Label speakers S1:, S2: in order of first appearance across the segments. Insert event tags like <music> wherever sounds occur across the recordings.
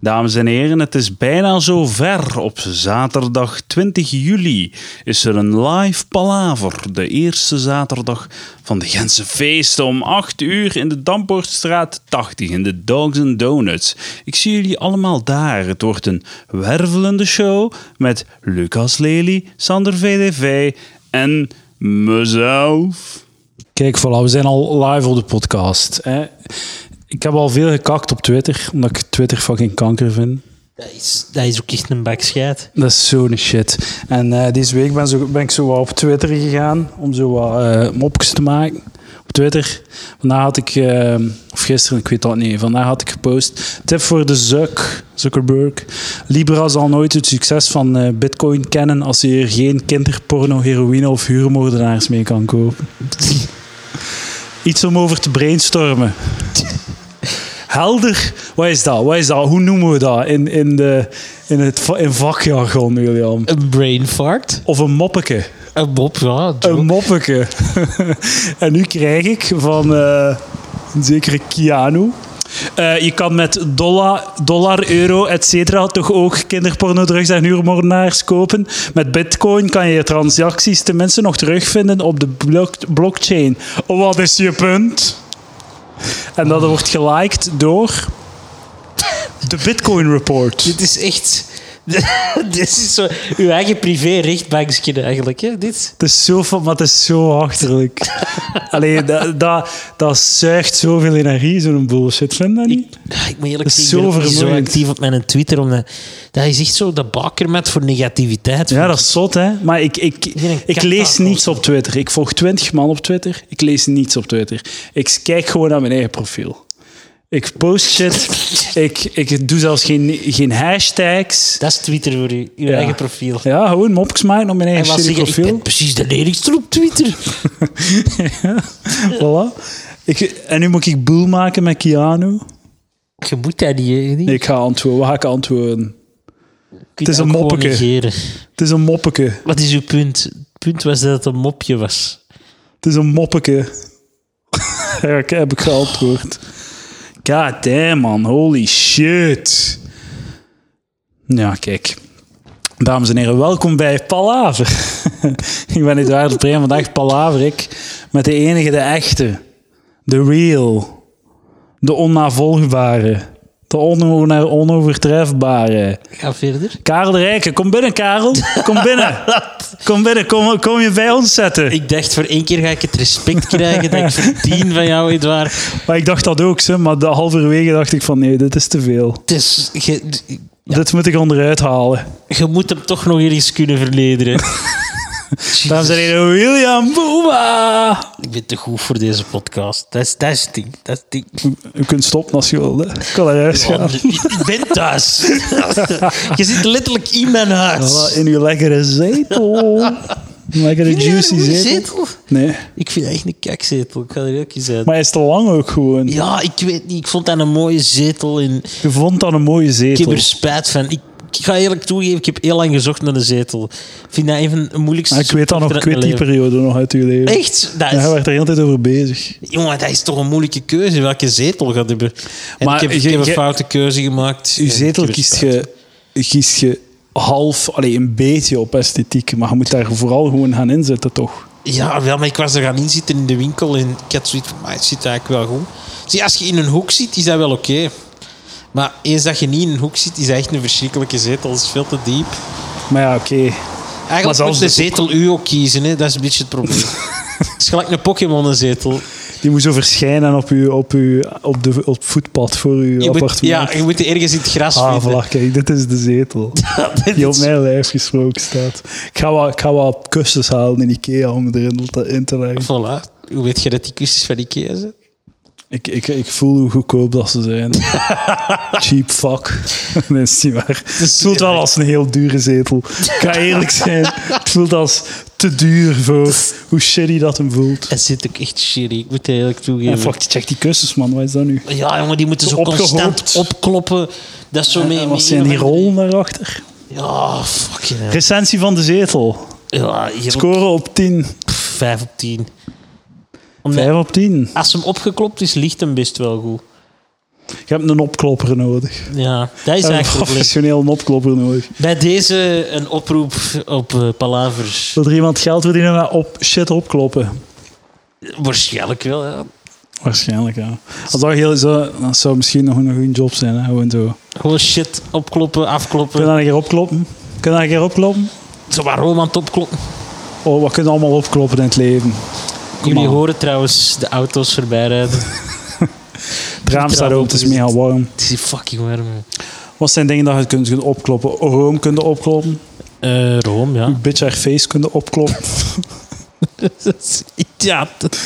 S1: Dames en heren, het is bijna zover. Op zaterdag 20 juli is er een live palaver. De eerste zaterdag van de Gentse feesten om 8 uur in de Dampoortstraat 80 in de Dogs and Donuts. Ik zie jullie allemaal daar. Het wordt een wervelende show met Lucas Lely, Sander VDV en mezelf.
S2: Kijk, voilà, we zijn al live op de podcast. Hè. Ik heb al veel gekakt op Twitter, omdat ik Twitter fucking kanker vind.
S3: Dat is, dat is ook echt een bak scheid.
S2: Dat is zo'n shit. En eh, deze week ben, zo, ben ik zo wat op Twitter gegaan om zo wat eh, mopjes te maken. Op Twitter. Vandaag had ik, eh, of gisteren, ik weet dat niet, vandaag had ik gepost. Tip voor de Zuck, Zuckerberg. Libra zal nooit het succes van eh, Bitcoin kennen als je er geen kinderporno, heroïne of huurmoordenaars mee kan kopen. <laughs> Iets om over te brainstormen. Helder, wat is dat? Wat is dat? Hoe noemen we dat in, in, de, in het va- in vakjargon, William?
S3: Een brain fart.
S2: Of een moppeke.
S3: Een mop, ja.
S2: Een moppeke. <laughs> en nu krijg ik van eh, een zekere Keanu. Eh, je kan met dollar, dollar euro, et cetera, toch ook kinderporno, drugs en huurmoordenaars kopen. Met bitcoin kan je je transacties tenminste nog terugvinden op de blok- blockchain. Oh, wat is je punt? En dat wordt geliked door... De Bitcoin Report.
S3: Dit is echt... <laughs> dit is zo... Uw eigen privé rechtbankje eigenlijk, hè? Dit.
S2: Het is zo, fa- maar het is zo achterlijk.
S3: <laughs>
S2: Allee, dat, dat, dat zuigt zoveel energie, zo'n bullshit. Vind je dat niet?
S3: Ah, Ik moet eerlijk
S2: is
S3: zeggen,
S2: zo
S3: ik ben ook niet zo
S2: vermoeiend.
S3: actief op mijn Twitter. Omdat, dat is echt zo de bakermat voor negativiteit.
S2: Ja, dat is zot, hè? Maar ik, ik,
S3: een
S2: ik
S3: kaktafel
S2: lees niets op Twitter. Ik volg twintig man op Twitter. Ik lees niets op Twitter. Ik kijk gewoon naar mijn eigen profiel. Ik post shit.
S3: <laughs>
S2: ik, ik doe zelfs geen, geen hashtags.
S3: Dat is Twitter voor u. Uw
S2: Ja.
S3: eigen profiel.
S2: Ja, gewoon mopjes maken op mijn
S3: En
S2: eigen
S3: wat
S2: shitty
S3: zeg je? Ik ben
S2: profiel.
S3: precies de lelijkste op Twitter.
S2: <laughs> Voilà. Ik, en nu moet ik boel maken met Keanu.
S3: Je moet dat niet, hè?
S2: Nee, ik ga antwoorden. Wat ga ik antwoorden?
S3: het
S2: is een moppeke. Het is een moppeke.
S3: Wat is uw punt? Het punt was dat het een mopje was.
S2: Het is een moppeke. <laughs> Ja, ik heb ik geantwoord. God damn, man. Holy shit. Ja, kijk. Dames en heren, welkom bij Palaver. <laughs> ik ben Eduard de Preem. Vandaag palaver ik met de enige, de echte. De real. De onnavolgbare. De ono- onovertrefbare.
S3: Ga verder.
S2: Karel de Rijken, kom binnen, Karel. Kom binnen. Kom binnen, kom, kom je bij ons zetten.
S3: Ik dacht, voor één keer ga ik het respect krijgen dat ik verdien van jou, Edouard.
S2: Maar ik dacht dat ook, ze, maar de halverwege dacht ik van nee, dit is te veel.
S3: Dus je,
S2: Dit moet ik onderuit halen.
S3: je moet hem toch nog ergens kunnen verlederen.
S2: Dames en
S3: Jezus,
S2: heren, William Boema!
S3: Ik ben te goed voor deze podcast. Dat is, dat is het ding. Dat is het ding.
S2: U kunt stoppen als je wil. hè. Ik kan naar huis gaan.
S3: Ik ben thuis. <laughs> Je zit letterlijk in mijn huis.
S2: Voilà, in uw lekkere zetel. Een Lekkere
S3: Vind je dat een
S2: juicy
S3: goede
S2: zetel. Nee,
S3: Ik vind dat echt een kakzetel. Ik ga er ook eens uit.
S2: maar hij is te lang ook gewoon.
S3: Ja, ik weet niet. Ik vond dat een mooie zetel. En
S2: Je vond dan een mooie
S3: ik heb
S2: zetel.
S3: er spijt van. Ik, ik ga eerlijk toegeven, ik heb heel lang gezocht naar een zetel. Ik vind dat een van de moeilijkste
S2: Maar ik weet dat nog, ik
S3: zoektochten
S2: weet
S3: uit
S2: die
S3: mijn
S2: periode nog uit uw leven.
S3: leven. Echt? Dat
S2: Ja,
S3: is,
S2: hij werd er de hele tijd over bezig.
S3: Jongen, dat is toch een moeilijke keuze welke zetel gaat hebben. En
S2: Maar
S3: ik heb, ik
S2: je-
S3: heb
S2: je-
S3: een foute keuze gemaakt.
S2: Uw zetel
S3: Ik heb er
S2: kiest
S3: spijt.
S2: je, kiest je half, alleen een beetje op esthetiek. Maar je moet daar vooral gewoon gaan inzetten, toch?
S3: Ja, wel, maar ik was er gaan inzitten in de winkel en ik had zoiets van, maar het zit eigenlijk wel goed. Zie, als je in een hoek zit, is dat wel oké. Maar eens dat je niet in een hoek zit, is dat echt een verschrikkelijke zetel. Dat is veel te diep.
S2: Maar ja, oké. Maar
S3: Eigenlijk
S2: zelfs
S3: moet de
S2: de
S3: zetel u ook kiezen, hè? dat is een beetje het
S2: <laughs>
S3: probleem. Het is gelijk een Pokémon-zetel.
S2: Die moet zo verschijnen op, uw, op, uw, op, de, op het voetpad voor uw
S3: Je moet,
S2: appartement.
S3: ja, je moet die ergens in het gras
S2: ah,
S3: vinden.
S2: voilà, kijk, dit is de
S3: <laughs>
S2: zetel die op mijn lijf gesproken staat. Ik ga wat, ik ga wat kussens halen in Ikea om erin te, in te leggen.
S3: Voilà. Hoe weet je dat die kussens van Ikea zijn?
S2: Ik, ik, ik voel hoe goedkoop dat ze
S3: <laughs>
S2: zijn. Cheap fuck. <laughs> Nee, is niet waar. Het voelt wel als een heel dure zetel. Ik ga eerlijk zijn. Het voelt als te duur voor hoe shitty dat hem voelt.
S3: Dat zit ook echt shitty, ik moet het eerlijk
S2: En
S3: toegeven.
S2: fuck, check die kussens, man. Wat is dat nu?
S3: Ja, jongen, die moeten
S2: Zo
S3: zo constant
S2: opgehoopt.
S3: opkloppen. Dat is zo mee...
S2: En
S3: mee-
S2: wat zijn die rollen daarachter?
S3: Ja, fucking hell.
S2: Recensie van de zetel.
S3: Ja, hier op
S2: Scoren op 10.
S3: 5 op 10.
S2: 5 op 10.
S3: Als hem opgeklopt is, ligt hem best wel goed.
S2: Je hebt een opklopper nodig.
S3: Ja, dat is
S2: Je hebt
S3: eigenlijk
S2: een
S3: het probleem.
S2: professioneel opklopper nodig.
S3: Bij deze een oproep op eh, Palavers.
S2: Wil er iemand geld verdienen met op shit opkloppen?
S3: Waarschijnlijk wel, ja.
S2: Waarschijnlijk, ja. Als dat, heel, zo, dat zou misschien nog een goede job zijn, hè? gewoon zo.
S3: Gewoon shit opkloppen, afkloppen.
S2: Kun je dat een keer opkloppen? Kun je dat een keer opkloppen?
S3: Zo waarom aan het opkloppen?
S2: Oh, wat kunnen we allemaal opkloppen in het leven?
S3: Jullie
S2: on.
S3: horen trouwens de auto's voorbij rijden.
S2: Het raam staat open, het is mega warm.
S3: Het is hier fucking warm. hè.
S2: Wat zijn dingen dat je kunt kunt opkloppen? Room kunnen opkloppen.
S3: Eh Rome, ja. <laughs>
S2: Een beetje haar face kunnen opkloppen.
S3: ja. dat-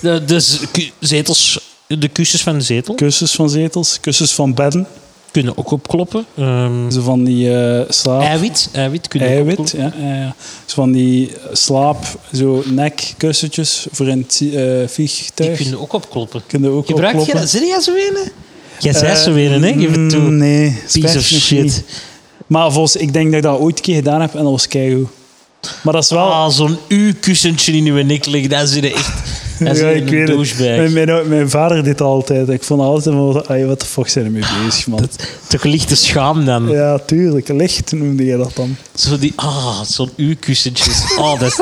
S3: De, de z- dus ku- zetels, de kussens van de zetel
S2: Kussens van zetels, kussens van bedden.
S3: kunnen ook opkloppen. Ehm
S2: Zo van die eh, slaap...
S3: eiwit, eiwit kunnen ook
S2: Eiwit,
S3: opkloppen.
S2: ja, ja, ja. Zo van die eh, slaap, zo nekkussentjes voor in het eh
S3: Die
S2: vliegtuig.
S3: kunnen ook opkloppen.
S2: Kunnen ook
S3: Gebruik je
S2: opkloppen.
S3: dat? Zit jij zo wenen? Jij
S2: Eh,
S3: zei zo wenen, hè? Geef het
S2: mm,
S3: toe.
S2: Nee,
S3: Piece
S2: spijtig
S3: of
S2: nog
S3: shit.
S2: niet. Maar volgens, ik denk dat ik dat ooit een keer gedaan heb en dat was keigoed. Maar dat is wel...
S3: Ah, zo'n U-kussentje in uw nek liggen, daar zit je echt
S2: <laughs>
S3: daar zit
S2: Ja,
S3: je
S2: ik
S3: een
S2: weet het.
S3: douchebag.
S2: Mijn, mijn, mijn vader deed dat altijd. Ik vond altijd van, "Ai, wat de fuck zijn er mee
S3: Ah,
S2: bezig, man.
S3: Toch lichte schaam dan.
S2: Ja, tuurlijk. Licht noemde je dat dan.
S3: Zo die, ah, zo'n U-kussentjes. Ah, dat is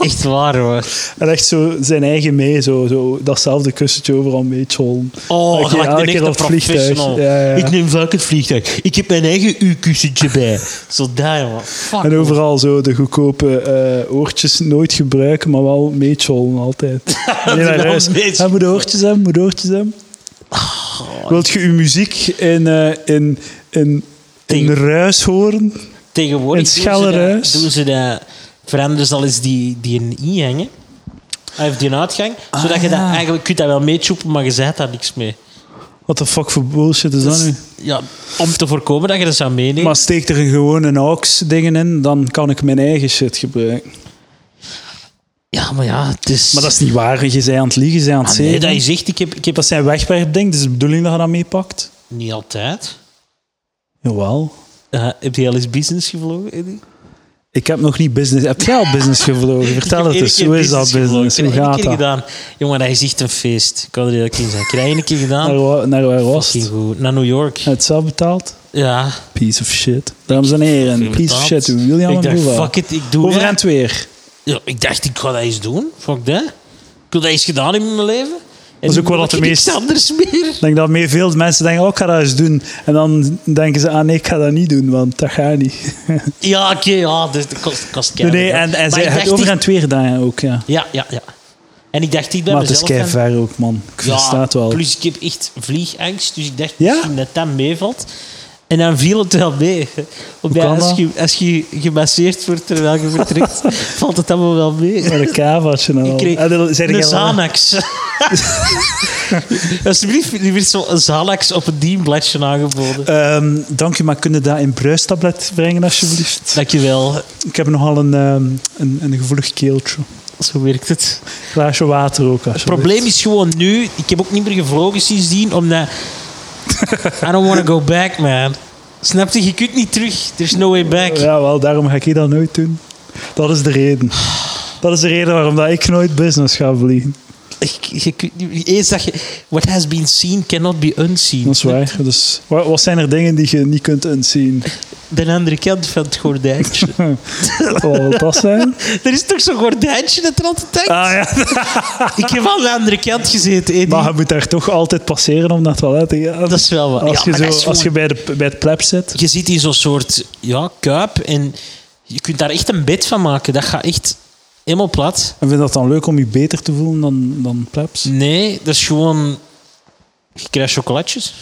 S3: echt waar, hoor.
S2: En echt zo zijn eigen mee, zo, zo datzelfde kussentje overal mee tjollen.
S3: Oh,
S2: Elke-
S3: gelijk
S2: elke
S3: een
S2: keer
S3: echte
S2: op het vliegtuig.
S3: professional.
S2: Ja, ja.
S3: Ik neem vaak het vliegtuig. Ik heb mijn eigen U-kussentje bij. Zo daar, man. Fuck.
S2: En overal zo de goedkope eh, oortjes nooit gebruiken, maar wel meetjollen
S3: <laughs>
S2: altijd. Nee,
S3: is
S2: naar
S3: wel
S2: huis.
S3: meetjollen.
S2: Hij moet oortjes hebben, moet oortjes hebben.
S3: Oh,
S2: Wilt je uw muziek in, eh, in, in, in
S3: Ding.
S2: ruis horen?
S3: Tegenwoordig
S2: In het
S3: doen ze
S2: Schelleruis.
S3: dat- doen ze dat. Veranderen ze al eens die, die een ingang, hè. Hij heeft die een uitgang. Zodat je dat
S2: ja.
S3: eigenlijk... Je kunt dat wel meechoppen, maar je zet daar niks mee.
S2: Wat de fuck voor bullshit is dat nu?
S3: Ja, om te voorkomen dat je dat zou meenemen.
S2: Maar steek er gewoon een AUX-dingen in, dan kan ik mijn eigen shit gebruiken.
S3: ja, maar ja, het is...
S2: Maar dat is niet waar. Je bent aan het liegen, je bent aan het
S3: Ah,
S2: zeven.
S3: nee, dat je zegt, ik heb, ik heb
S2: Dat zijn wegwerpdingen, dus de bedoeling dat je dat meepakt?
S3: Niet altijd.
S2: Jawel.
S3: Eh, heb je al eens business gevlogen, Eddie?
S2: Ik heb nog niet business... Heb jij al business
S3: <laughs>
S2: gevlogen? Vertel
S3: Ik heb
S2: het eens.
S3: één
S2: Hoe
S3: keer
S2: is dat
S3: gevlogen.
S2: business?
S3: Ik
S2: Hoe
S3: heb één
S2: gaat
S3: keer
S2: dat?
S3: gedaan. Jongen, dat is echt een feest. Ik kan er heel keen zijn. Ik heb dat één keer
S2: Naar,
S3: gedaan.
S2: wa- naar waar was
S3: Fucking
S2: het?
S3: goed. Naar New York.
S2: Het zelf betaald?
S3: Ja.
S2: Piece of shit. Dames en heren, piece of shit. William
S3: Ik
S2: en
S3: dacht,
S2: Boeva.
S3: fuck it, ik doe
S2: Over
S3: dat.
S2: en het weer.
S3: Ja, ik dacht, ik ga dat eens doen. Fuck dat. Ik wil dat eens gedaan hebben in mijn leven. En
S2: is
S3: nu
S2: ook wel
S3: wil
S2: wat de
S3: ik niks
S2: meest-
S3: anders meer.
S2: Ik denk dat meer veel mensen denken, oh, ik ga dat eens doen. En dan denken ze, ah nee, ik ga dat niet doen, want dat gaat niet.
S3: Ja, oké, ja, dat dat kost, kost
S2: Nee,
S3: keihard,
S2: <laughs> nee,
S3: hè.
S2: en, en
S3: Maar
S2: zij
S3: ik
S2: het
S3: dacht
S2: over en
S3: echt-
S2: het weer daar ook, ja.
S3: Ja, ja, ja. En ik dacht, ik ben
S2: Maar het is
S3: mezelf...
S2: kei
S3: aan-
S2: ver ook, man. Ik versta het wel.
S3: Plus ik heb echt vliegangst, dus ik dacht
S2: Ja?
S3: misschien dat dat meevalt. En dan viel het wel mee. Want ja,
S2: kan
S3: als,
S2: dat?
S3: je, als je gemasseerd wordt terwijl je
S2: <laughs>
S3: vertrekt, valt het allemaal wel mee.
S2: Met een kavaatje en al.
S3: <laughs> Ik kreeg
S2: Ah, dat- zei
S3: een
S2: jij wel- <laughs>
S3: Xanax. Alsjeblieft, er werd zo'n Xanax op een dienbladje aangeboden.
S2: Ehm, dank u, maar kunnen dat in bruistablet brengen, alsjeblieft?
S3: Dankjewel,
S2: Ik heb nogal een, ehm, een, een gevoelig keeltje.
S3: zo werkt het.
S2: Glaasje water ook, alsjeblieft.
S3: Het probleem is gewoon nu, ik heb ook niet meer gevlogen sindsdien, omdat... I don't want to go back, man. Snap je? Je kunt niet terug. There's no way back.
S2: Ja, wel, daarom ga ik dat nooit doen. Dat is de reden. Dat is de reden waarom dat ik nooit business ga vliegen.
S3: Ik- je kunt niet- eens dat je... What has been seen cannot be unseen.
S2: Dat is waar. Dus, wa- wat zijn er dingen die je niet kunt
S3: <laughs>
S2: inzien?
S3: De andere kant van het
S2: <laughs>
S3: gordijntje.
S2: Oh, Wat wil dat zijn?
S3: er is toch zo'n gordijntje dat er altijd hangt?
S2: Ah ja,
S3: Ik heb aan de andere kant gezeten, Eddie.
S2: maar je moet daar toch altijd passeren om naar het toilet te gaan.
S3: Dat is wel wat.
S2: Als
S3: Ja,
S2: je,
S3: maar
S2: zo,
S3: dat is
S2: als je
S3: gewoon-
S2: bij, de, bij het pleb zit.
S3: je zit in zo'n soort ja, kuip en je kunt daar echt een bed van maken. Dat gaat echt helemaal plat.
S2: En vind je dat dan leuk om je beter te voelen dan, dan
S3: Mm.
S2: plebs?
S3: Nee, dat is gewoon... Je krijgt chocolatjes.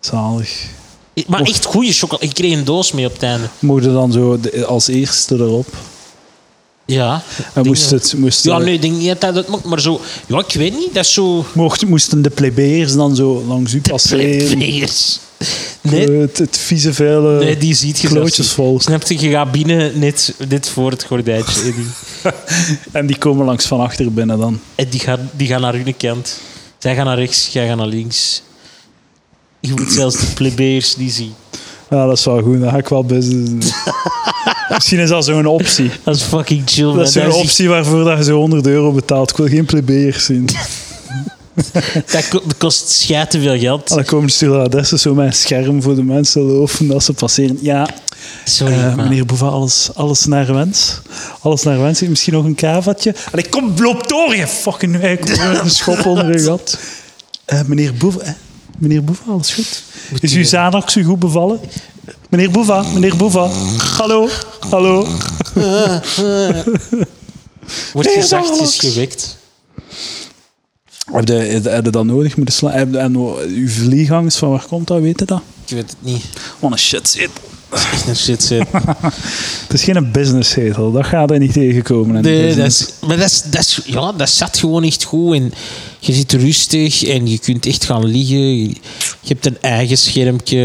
S2: Zalig.
S3: Maar echt goede chocolade. Ik kreeg een doos mee op het einde.
S2: Mocht je dan zo de- als eerste erop?
S3: Ja.
S2: En moest het, moest eh,
S3: Ja,
S2: de-
S3: nee, ik denk niet dat dat het moet, maar zo... Ja, ik weet niet, dat is zo...
S2: mocht, moesten de plebeiers dan zo langs u passeren?
S3: Players. Nee,
S2: Het, het vieze, vuile...
S3: nee, die ziet je
S2: klootjes
S3: zelfs
S2: vol.
S3: niet. Snap je, je gaat binnen net, net voor het gordijntje. En die,
S2: <laughs> En die komen langs van achter binnen dan.
S3: en die, gaan, die gaan naar hun kant. Zij gaan naar rechts, jij gaat naar links. Je moet zelfs de plebeiers niet zien.
S2: Ja, dat is wel goed. Dan ga ik wel business
S3: <laughs>
S2: doen. Misschien is dat zo'n optie.
S3: Dat is fucking chill, man.
S2: Dat is
S3: Dat
S2: zo'n
S3: is echt- <laughs>
S2: optie waarvoor dat je zo 100 euro betaalt. Ik wil geen plebeiers zien.
S3: Dat ko- dat kost schijt te veel geld.
S2: Dan komen Ah, de adressen dus zo met een scherm voor de mensen lopen als ze passeren. Ja,
S3: Sorry,
S2: eh,
S3: maar-
S2: meneer Boeva, alles, alles naar wens. Alles naar wens. Misschien nog een kavatje. Allee, kom, loop door, je fucking wijk. Een schop onder je gat. Eh, meneer Boeva, eh, meneer Boeva, alles goed? Is uw Zanax u eh, goed bevallen? Meneer Boeva, meneer Boeva. Hallo, hallo.
S3: Wordt je
S2: Meneer
S3: zachtjes
S2: Dawes.
S3: gewekt.
S2: Heb je, heb je dat nodig moeten slaan? Heb je- En uw vliegangs, van waar komt dat? Weet je dat?
S3: Ik weet het niet.
S2: Wat een shit zit.
S3: Echt een shit shit.
S2: Het is geen businesszetel, dat gaat er niet tegenkomen. in de
S3: Nee, dat
S2: business.
S3: is, maar dat, is, dat, is, ja, dat zat gewoon echt goed. En je zit rustig en je kunt echt gaan liggen. Je hebt een eigen schermpje.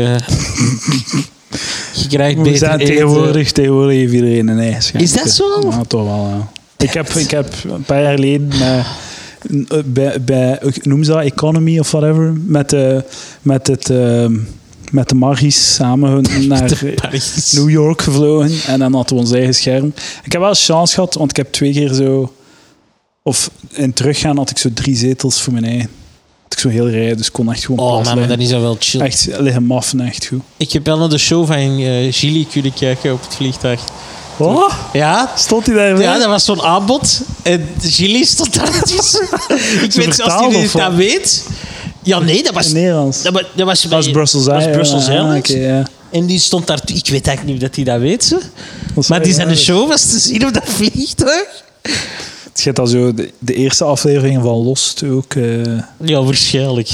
S3: je krijgt
S2: We
S3: beter
S2: zijn
S3: eten.
S2: tegenwoordig, tegenwoordig heeft iedereen een ijs.
S3: Is dat zo?
S2: Ja, toch wel, ja. Ik heb, ik heb een paar jaar geleden eh, n- eh, bij, bij, ik noem ze dat, Economy of whatever, met, de met, het, eh, met de Margis samen
S3: <laughs>
S2: naar
S3: Parijs.
S2: New York gevlogen. En dan hadden we ons eigen scherm. Ik heb wel eens chance gehad, want ik heb twee keer zo... Of in teruggaan had ik zo drie zetels voor mijn eigen. Had ik zo heel rij, dus ik kon echt gewoon
S3: Oh
S2: plaats
S3: man, maar
S2: leggen.
S3: dat is dan wel chill.
S2: Echt liggen maffen, echt goed.
S3: Ik heb wel naar de show van eh Gilly kunnen kijken op het vliegtuig.
S2: Oh,
S3: Ja?
S2: stond hij daar?
S3: Ja, dat was zo'n aanbod. En Gilly stond daar
S2: <laughs>
S3: tussen. Ik weet zelfs
S2: vertaalde
S3: niet of
S2: of wat?
S3: dat weet. Ja, nee, dat was...
S2: In Nederlands.
S3: Dat was, dat was, bij-
S2: Dat was Brussels
S3: dat was
S2: Airlines.
S3: Brussels Airlines.
S2: Ah, oké, ja.
S3: En die stond daar... Ik weet eigenlijk niet of dat hij dat weet. Zo.
S2: Dat is
S3: Maar die
S2: wel
S3: zijn de
S2: raar.
S3: show was te zien op dat vliegtuig.
S2: Het gaat al zo, de, de eerste aflevering van Lost ook eh,
S3: Ja, waarschijnlijk.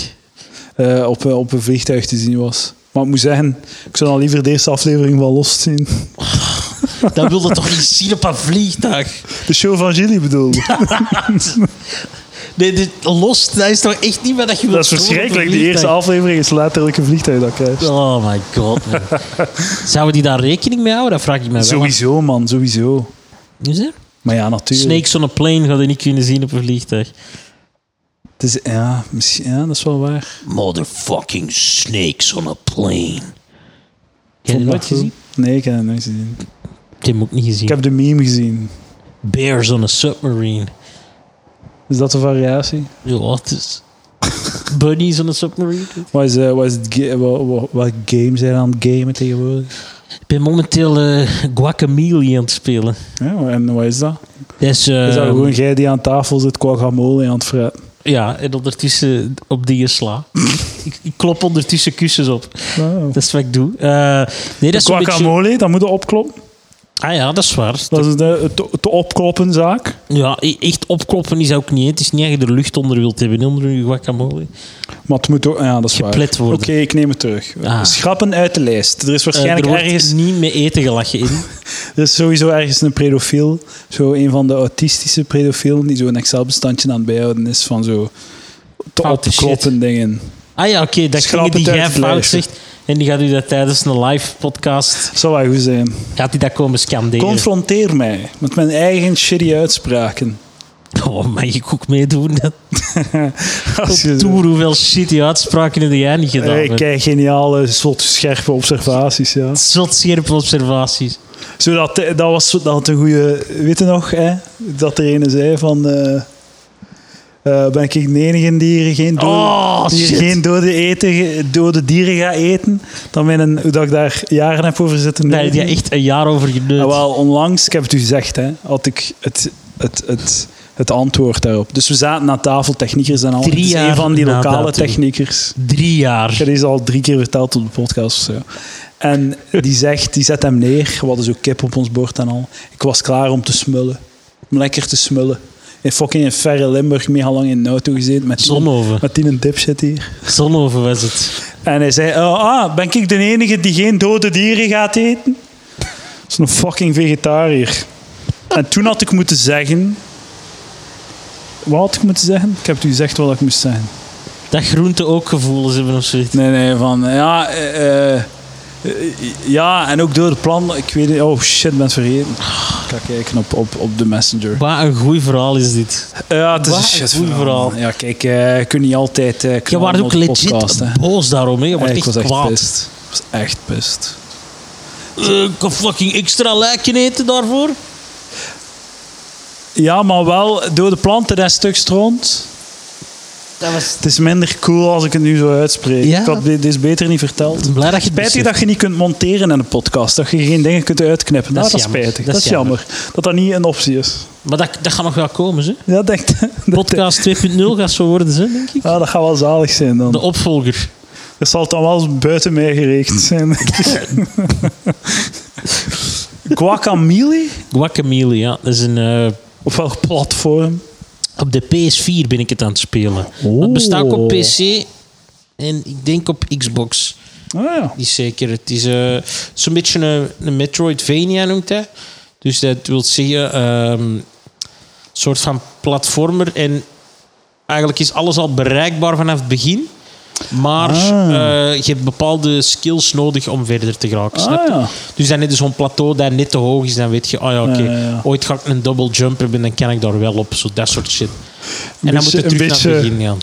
S2: eh, op, op een vliegtuig te zien was. Maar ik moet zeggen, ik zou dan liever de eerste aflevering van Lost zien.
S3: Dat wilde toch niet zien op een vliegtuig?
S2: De show van Gilly <laughs> bedoel ik.
S3: Nee, dit, los, dat is toch echt niet wat dat je wilt
S2: Dat is
S3: horen op een
S2: verschrikkelijk. De
S3: vliegtuig?
S2: eerste aflevering is letterlijk een vliegtuig dat krijgt.
S3: Oh my god, man.
S2: <laughs>
S3: Zouden die daar rekening mee houden? Dat vraag ik me wel.
S2: Sowieso, man, sowieso.
S3: Is er?
S2: Maar ja, natuurlijk.
S3: Snakes on a plane hadden niet kunnen zien op een vliegtuig.
S2: Het is, ja, misschien, ja, dat is wel waar.
S3: Motherfucking snakes on a plane. Heb
S2: Vond
S3: je dat
S2: dat
S3: nooit
S2: goed.
S3: gezien?
S2: Nee, ik heb het nooit gezien.
S3: Ik heb hem ook niet gezien.
S2: Ik heb de meme gezien.
S3: Bears on a submarine.
S2: Is dat een variatie?
S3: Ja, wat is... Bunnies on a submarine.
S2: Wat is, eh, wat is het ga- wat, wat, wat game zijn aan het gamen tegenwoordig?
S3: Ik ben momenteel eh Guacamole aan het spelen.
S2: Ja, en wat is dat?
S3: Dat is, eh,
S2: Is dat gewoon jij die aan tafel zit, guacamole aan het fretten?
S3: Ja, en ondertussen op die je
S2: <laughs>
S3: sla. ik, ik klop ondertussen kussens op. Dat is wat ik doe. Eh, nee, dat is een beetje...
S2: Guacamole, dat moet je opkloppen.
S3: Ah ja, dat is waar.
S2: Dat is de te, te opkloppen zaak.
S3: Ja, e- echt opkloppen is ook niet. hè. Het is niet dat je er lucht onder wilt hebben, hè, onder je guacamole. Eh,
S2: Maar het moet ook... Ja, dat is waar.
S3: Geplet worden.
S2: Oké, ik neem het terug.
S3: Ah.
S2: Schrappen uit de lijst. Er is
S3: Eh, er
S2: waarschijnlijk
S3: wordt
S2: ergens...
S3: niet mee eten gelachen in.
S2: Er is sowieso ergens een pedofiel. Zo een van de autistische pedofielen die zo'n Excel-bestandje aan het bijhouden is van zo... Te
S3: Foute
S2: opkloppen dingen.
S3: Ah ja, oké, dat
S2: Schrap
S3: dingen die
S2: het uit
S3: jij
S2: het
S3: fout
S2: lijstje.
S3: zegt. En die gaat u dat tijdens een live podcast,
S2: Zal wel goed zijn.
S3: gaat hij dat komen scanderen.
S2: Confronteer mij met mijn eigen shitty uitspraken.
S3: <laughs> oh, mag ik ook meedoen? <laughs> dan?
S2: Als je-
S3: Op tour, hoeveel shitty uitspraken heb jij niet gedaan?
S2: Eh, Ik
S3: man?
S2: krijg geniale, zot, scherpe observaties, ja.
S3: Zot scherpe observaties.
S2: Zodat, eh, dat was dat had een goede... Weet je nog, hè? Dat er ene zei van... eh, eh, ben ik de enige die hier geen dode,
S3: Oh,
S2: die hier
S3: shit.
S2: geen dode, eten, ge- dode dieren gaat eten? Dan ben een, hoe dat ik daar jaren heb over zitten
S3: Daar heb je
S2: lullen.
S3: echt een jaar over geneut.
S2: Ah, wel, onlangs, ik heb het u gezegd, hè, had ik het, het, het, het antwoord daarop. Dus we zaten aan tafel, techniekers en al.
S3: Drie
S2: Het is
S3: jaar
S2: een van die
S3: na
S2: lokale
S3: datum.
S2: techniekers.
S3: Drie
S2: Ik
S3: jaar.
S2: heb deze al drie keer verteld op de podcast of zo. En die zegt, die zet hem neer. We hadden zo kip op ons bord en al. Ik was klaar om te smullen. Om lekker te smullen. In fucking in verre Limburg, mega lang in de auto gezeten. Met die,
S3: Zonhoven.
S2: met die een dipshit hier.
S3: Zonhoven was het.
S2: En hij zei, oh, ah, ben ik de enige die geen dode dieren gaat eten? Dat is een fucking vegetariër. En toen had ik moeten zeggen... Wat had ik moeten zeggen? Ik heb het u gezegd wat ik moest zeggen.
S3: Dat groente ook gevoelens hebben of zoiets.
S2: Nee, nee, van ja, eh, eh, eh, ja, en ook door het plan, ik weet niet, oh shit, ben het vergeten. Ik ga kijken op, op, op de messenger. Eh,
S3: Wat een goed verhaal is dit.
S2: Ja, het is
S3: Wat
S2: een
S3: een
S2: shit
S3: goed verhaal.
S2: Ja, kijk, eh, je kunt niet altijd eh
S3: Je was
S2: knallen
S3: ook
S2: op de
S3: legit
S2: podcast, hè.
S3: boos daarom. Hè. Je was
S2: Ja, ik
S3: echt
S2: was echt
S3: kwaad.
S2: pist. Ik was echt pist.
S3: Eh, Ik kan fucking extra lijkje eten daarvoor.
S2: Ja, maar wel door de planten dat stuk stront.
S3: Dat was...
S2: Het is minder cool als ik het nu zo uitspreek.
S3: Ja. Dus-
S2: Ik had dit dit is beter niet verteld.
S3: Blij dat je het
S2: Spijtig
S3: beseft.
S2: dat je niet kunt monteren in een podcast. Dat je geen dingen kunt uitknippen. Nou, Dat,
S3: Dat is
S2: dat is
S3: jammer.
S2: spijtig.
S3: Dat
S2: Dat,
S3: is
S2: is jammer. Dat dat niet een optie is.
S3: Maar dat, dat gaat nog wel komen, ze.
S2: Ja, denk, dat,
S3: Podcast 2.0 gaat zo worden, ze, denk ik.
S2: ja, dat gaat wel zalig zijn dan.
S3: De opvolger.
S2: Dat zal dan wel buiten mij gerekend
S3: <laughs>
S2: zijn. Guacamole?
S3: Guacamole, ja. Dat is een... eh,
S2: Op welk platform?
S3: Op de PS4 ben ik het aan het spelen.
S2: Oh.
S3: Het bestaat ook op PC en ik denk op Xbox.
S2: Ah ja.
S3: Die zeker. Het is eh, het is zo'n beetje een, een Metroidvania noemt hij. Dus dat wil zeggen, ehm, een soort van platformer. En eigenlijk is alles al bereikbaar vanaf het begin. Maar
S2: Ah.
S3: eh, je hebt bepaalde skills nodig om verder te geraken. snap
S2: Ah,
S3: je?
S2: ja.
S3: Dus dan heb je zo'n plateau dat net te hoog is. Dan weet je, oh ja, oké,
S2: Ja, ja, ja.
S3: ooit ga ik een double jumper hebben, dan kan ik daar wel op. Zo dat soort shit. En dan moet je
S2: beetje-
S3: terug
S2: een
S3: naar het
S2: beetje-
S3: begin gaan.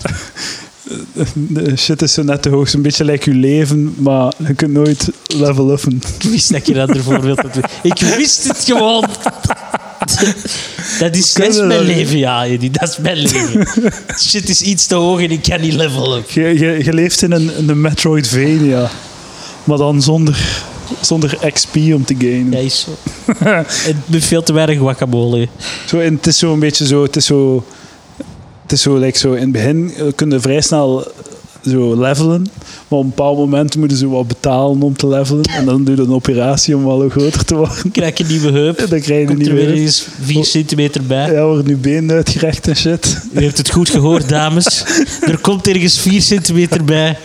S2: De shit is zo net te hoog. Een beetje lijkt je leven, maar je kunt nooit level uppen.
S3: <laughs> Ik wist dat je dat ervoor wilt. Ik wist het gewoon. Dat is, dat is
S2: kunnen
S3: mijn
S2: dat niet.
S3: leven, ja, Eddie. Dat is mijn
S2: <laughs>
S3: leven. Shit is iets te hoog en ik kan niet level up.
S2: Je, je, je leeft in een, in een Metroidvania. Maar dan zonder, zonder XP om te gainen.
S3: Dat is zo.
S2: <laughs>
S3: Het me veel te weinig guacamole. <laughs>
S2: Zo, en het is zo een beetje zo. Het is zo. Het is zo, like zo in het begin eh, kunnen vrij snel zo levelen. Maar op een bepaald moment moeten ze wat betalen om te levelen. En dan doe je een operatie om wel groter te worden. <laughs>
S3: Krijg je een nieuwe heup.
S2: En dan krijg je
S3: Komt
S2: niet
S3: er weer
S2: meer.
S3: eens 4 centimeter bij.
S2: Ja, worden nu benen uitgerecht en shit.
S3: U heeft het goed
S2: <laughs>
S3: gehoord, dames. Er komt ergens 4 centimeter bij.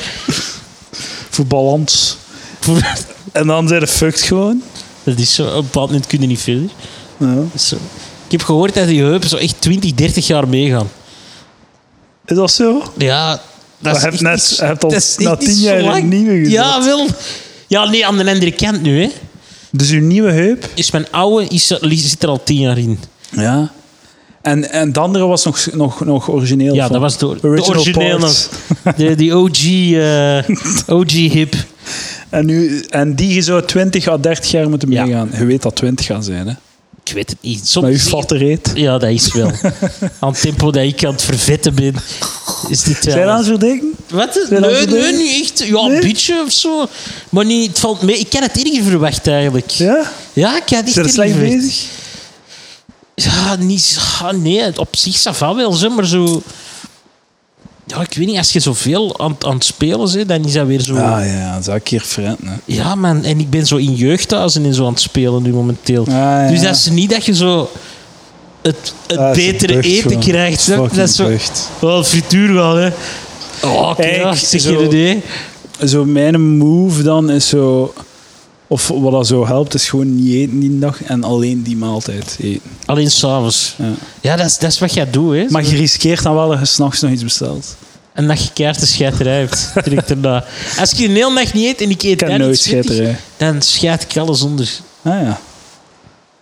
S2: Voor balans. <laughs> En dan zijn de fucked gewoon.
S3: Dat Dus is zo. Op een bepaald moment kun je niet verder.
S2: Ja.
S3: Dat is zo. Ik heb gehoord dat die heupen zo echt 20, 30 jaar meegaan.
S2: Is dat zo?
S3: Ja, dat
S2: Maar
S3: is
S2: je hebt
S3: echt
S2: net-
S3: niet-
S2: je hebt al
S3: dat is
S2: na
S3: echt
S2: tien
S3: niet zo
S2: jaar een
S3: lang.
S2: nieuwe gezet.
S3: Ja, wel. Ja, nee, aan de andere kant nu, hè.
S2: Dus uw nieuwe heup.
S3: Is mijn oude is, zit er al tien jaar in.
S2: Ja. En, en de andere was nog, nog, nog origineel.
S3: Ja,
S2: van-
S3: dat was de, de
S2: Original
S3: originele.
S2: parts.
S3: De, die OG, eh, OG hip.
S2: En, nu, en die zou 20 à 30 jaar moeten
S3: Ja.
S2: meegaan. Je weet dat 20 gaan zijn, hè?
S3: Ik weet het niet. Soms
S2: Maar u vatte reet.
S3: Ja, dat
S2: <laughs>
S3: is wel. aan het tempo dat ik aan het vervetten ben, is dit wel...
S2: Zijn dat aan het verdenken?
S3: Wat? Nee,
S2: Zijn dat
S3: nee,
S2: zo dingen?
S3: nu echt. Ja, een
S2: Nee?
S3: beetje of zo. Maar niet, het valt mee. Ik kan het erger verwacht, eigenlijk.
S2: Ja?
S3: Ja, ik kan het echt
S2: Zijn
S3: erger
S2: er slecht
S3: verwacht.
S2: bezig?
S3: Ja, niet, ja, nee, op zich ça va wel, zo, maar zo... Ja, ik weet niet, als je zoveel aan, aan het spelen bent, dan is dat weer zo...
S2: Ah ja, dat zou ik hier verrenten. hè.
S3: Ja, man, en ik ben zo in jeugdhuizen en zo aan het spelen nu momenteel.
S2: Ah, ja.
S3: Dus dat is niet dat je zo het, het
S2: Ah, dat is een
S3: betere
S2: deugd,
S3: eten
S2: gewoon.
S3: krijgt. snap je? Dat
S2: Fucking
S3: is zo...
S2: deugd.
S3: Wel, frituur wel, hè. Oh, oké,
S2: Kijk,
S3: ja, zeg je
S2: zo-
S3: dat, hè.
S2: Zo mijn move dan is zo... Of wat dat zo helpt, is gewoon niet eten die dag en alleen die maaltijd eten.
S3: Alleen s'avonds.
S2: Ja.
S3: Ja, dat is, dat is wat jij doet, hè.
S2: Maar je riskeert dan wel dat je s'nachts nog iets bestelt.
S3: En dat je kaarten scheiterij hebt, direct daarna. Als je een hele nacht niet eet en ik eet
S2: Ik heb
S3: dan
S2: nooit
S3: iets vettig,
S2: scheiterij.
S3: dan scheid ik alles onder.
S2: Ah ja.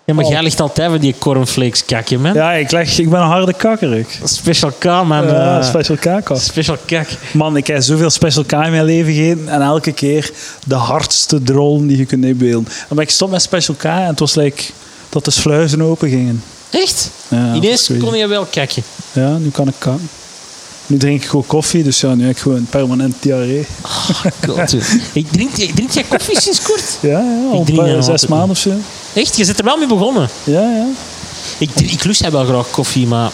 S3: Ja, maar
S2: Oh.
S3: jij ligt altijd met die cornflakes kakje, man.
S2: Ja, ik, leg, ik ben een harde kakker, ik.
S3: Special K, man.
S2: Ja,
S3: eh.
S2: special kakker.
S3: special kak.
S2: Man, ik heb zoveel Special K in mijn leven gegeten en elke keer de hardste drollen die je kunt inbeelden. En maar ik stond met Special K en het was like dat de sluizen open gingen.
S3: Echt?
S2: Ja,
S3: Ineens
S2: dat is
S3: kon je wel kakken.
S2: crazy. Ja, nu kan ik kakken. Nu drink ik gewoon koffie, dus ja, nu heb ik gewoon permanent diarree.
S3: Oh,
S2: <laughs>
S3: God, joh. ik drink, ik drink jij koffie sinds kort?
S2: Ja, ja, al
S3: drink
S2: een paar-
S3: dat nog
S2: zes
S3: altijd
S2: maanden of zo.
S3: Echt? Je zit er wel mee begonnen.
S2: Ja, ja.
S3: Ik, drink- ik lust wel graag koffie, maar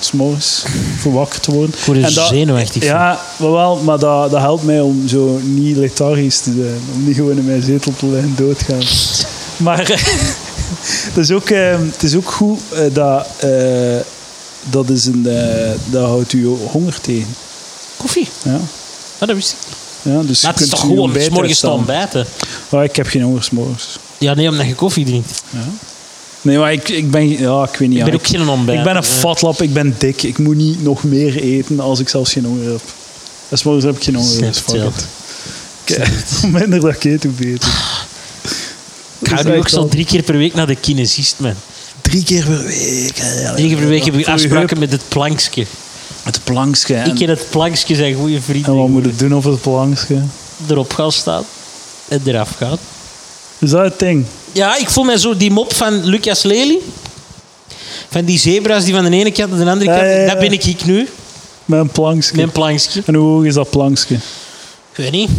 S2: S'morgens, voor wakker te worden.
S3: ik word er
S2: En dat-
S3: zenuwachtig van.
S2: Ja, maar wel, maar dat, dat helpt mij om zo niet lethargisch te zijn. Om niet gewoon in mijn zetel te liggen doodgaan. Maar het, is ook, eh, het is ook goed eh, dat, eh, dat, is een, eh, dat houdt u honger tegen.
S3: <laughs> Koffie?
S2: Ja.
S3: Ja, dat wist ik niet.
S2: Ja, dus
S3: Maar
S2: je
S3: het is
S2: kunt
S3: toch
S2: uw
S3: gewoon
S2: ontbijt
S3: s morgens te
S2: uitstaan.
S3: ontbijten?
S2: Maar ik heb geen honger s'morgens.
S3: Ja, nee, omdat je koffie drinkt.
S2: Nee, maar ik, ik ben... Ja, ik weet niet. ja,
S3: ik ben ook geen ontbijt.
S2: ik ben een fatlap, ik ben dik. Ik moet niet nog meer eten als ik zelfs geen honger heb. En 's morgens heb ik geen honger,
S3: Snap
S2: dus
S3: het
S2: fuck
S3: wel.
S2: it. Ik- Hoe <laughs> minder dat ik eet, hoe beter.
S3: Ik ga
S2: Dat is
S3: nu
S2: echt
S3: ook zo
S2: wel-
S3: drie keer per week naar de kinesist, man.
S2: Drie keer per week. eh, hè.
S3: Drie keer per week heb ik
S2: Voor je
S3: afspraken met het plankje.
S2: heup, Het plankje. En,
S3: Ik en het plankje zijn goede vrienden.
S2: en wat
S3: geworden.
S2: moet het doen over het plankje?
S3: erop gaan staan en eraf gaan.
S2: Is dat het ding?
S3: Ja, ik voel mij zo die mop van Lucas Lely. Van die zebra's die van de ene kant naar de andere
S2: Ja,
S3: kant.
S2: ja, ja.
S3: Dat ben ik ik nu.
S2: Met een plankje.
S3: Mijn plankje.
S2: En hoe hoog is dat plankje?
S3: Ik weet niet.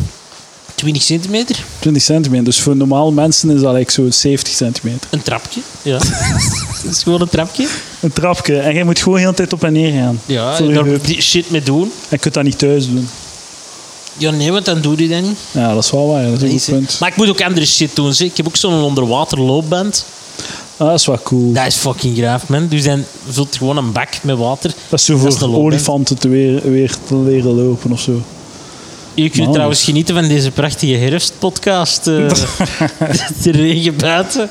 S3: 20 centimeter.
S2: 20 centimeter. Dus voor normale mensen is dat eigenlijk zo'n 70 centimeter.
S3: Een trapje.
S2: <laughs>
S3: Ja. dat is gewoon een trapje.
S2: Een trapje. En jij moet gewoon de hele tijd op en neer gaan.
S3: Ja,
S2: Voor
S3: en
S2: je
S3: daar
S2: heup.
S3: die shit mee doen.
S2: En je kunt dat niet thuis doen.
S3: Ja, nee, want dan doe je dat niet.
S2: Ja, dat is wel waar. Dat is een goed
S3: Deze-
S2: punt.
S3: Maar ik moet ook andere shit doen. Zeg. Ik heb ook zo'n onderwater loopband.
S2: Ah, dat is wel cool.
S3: Dat is fucking graaf, man. Dus dan vult je gewoon een bak met water.
S2: Dat is zo
S3: dat is de
S2: voor
S3: loop, hè.
S2: olifanten te weer, weer te leren lopen of zo.
S3: Je kunt
S2: Man.
S3: trouwens genieten van deze prachtige
S2: <laughs>
S3: herfstpodcast. eh de regen buiten.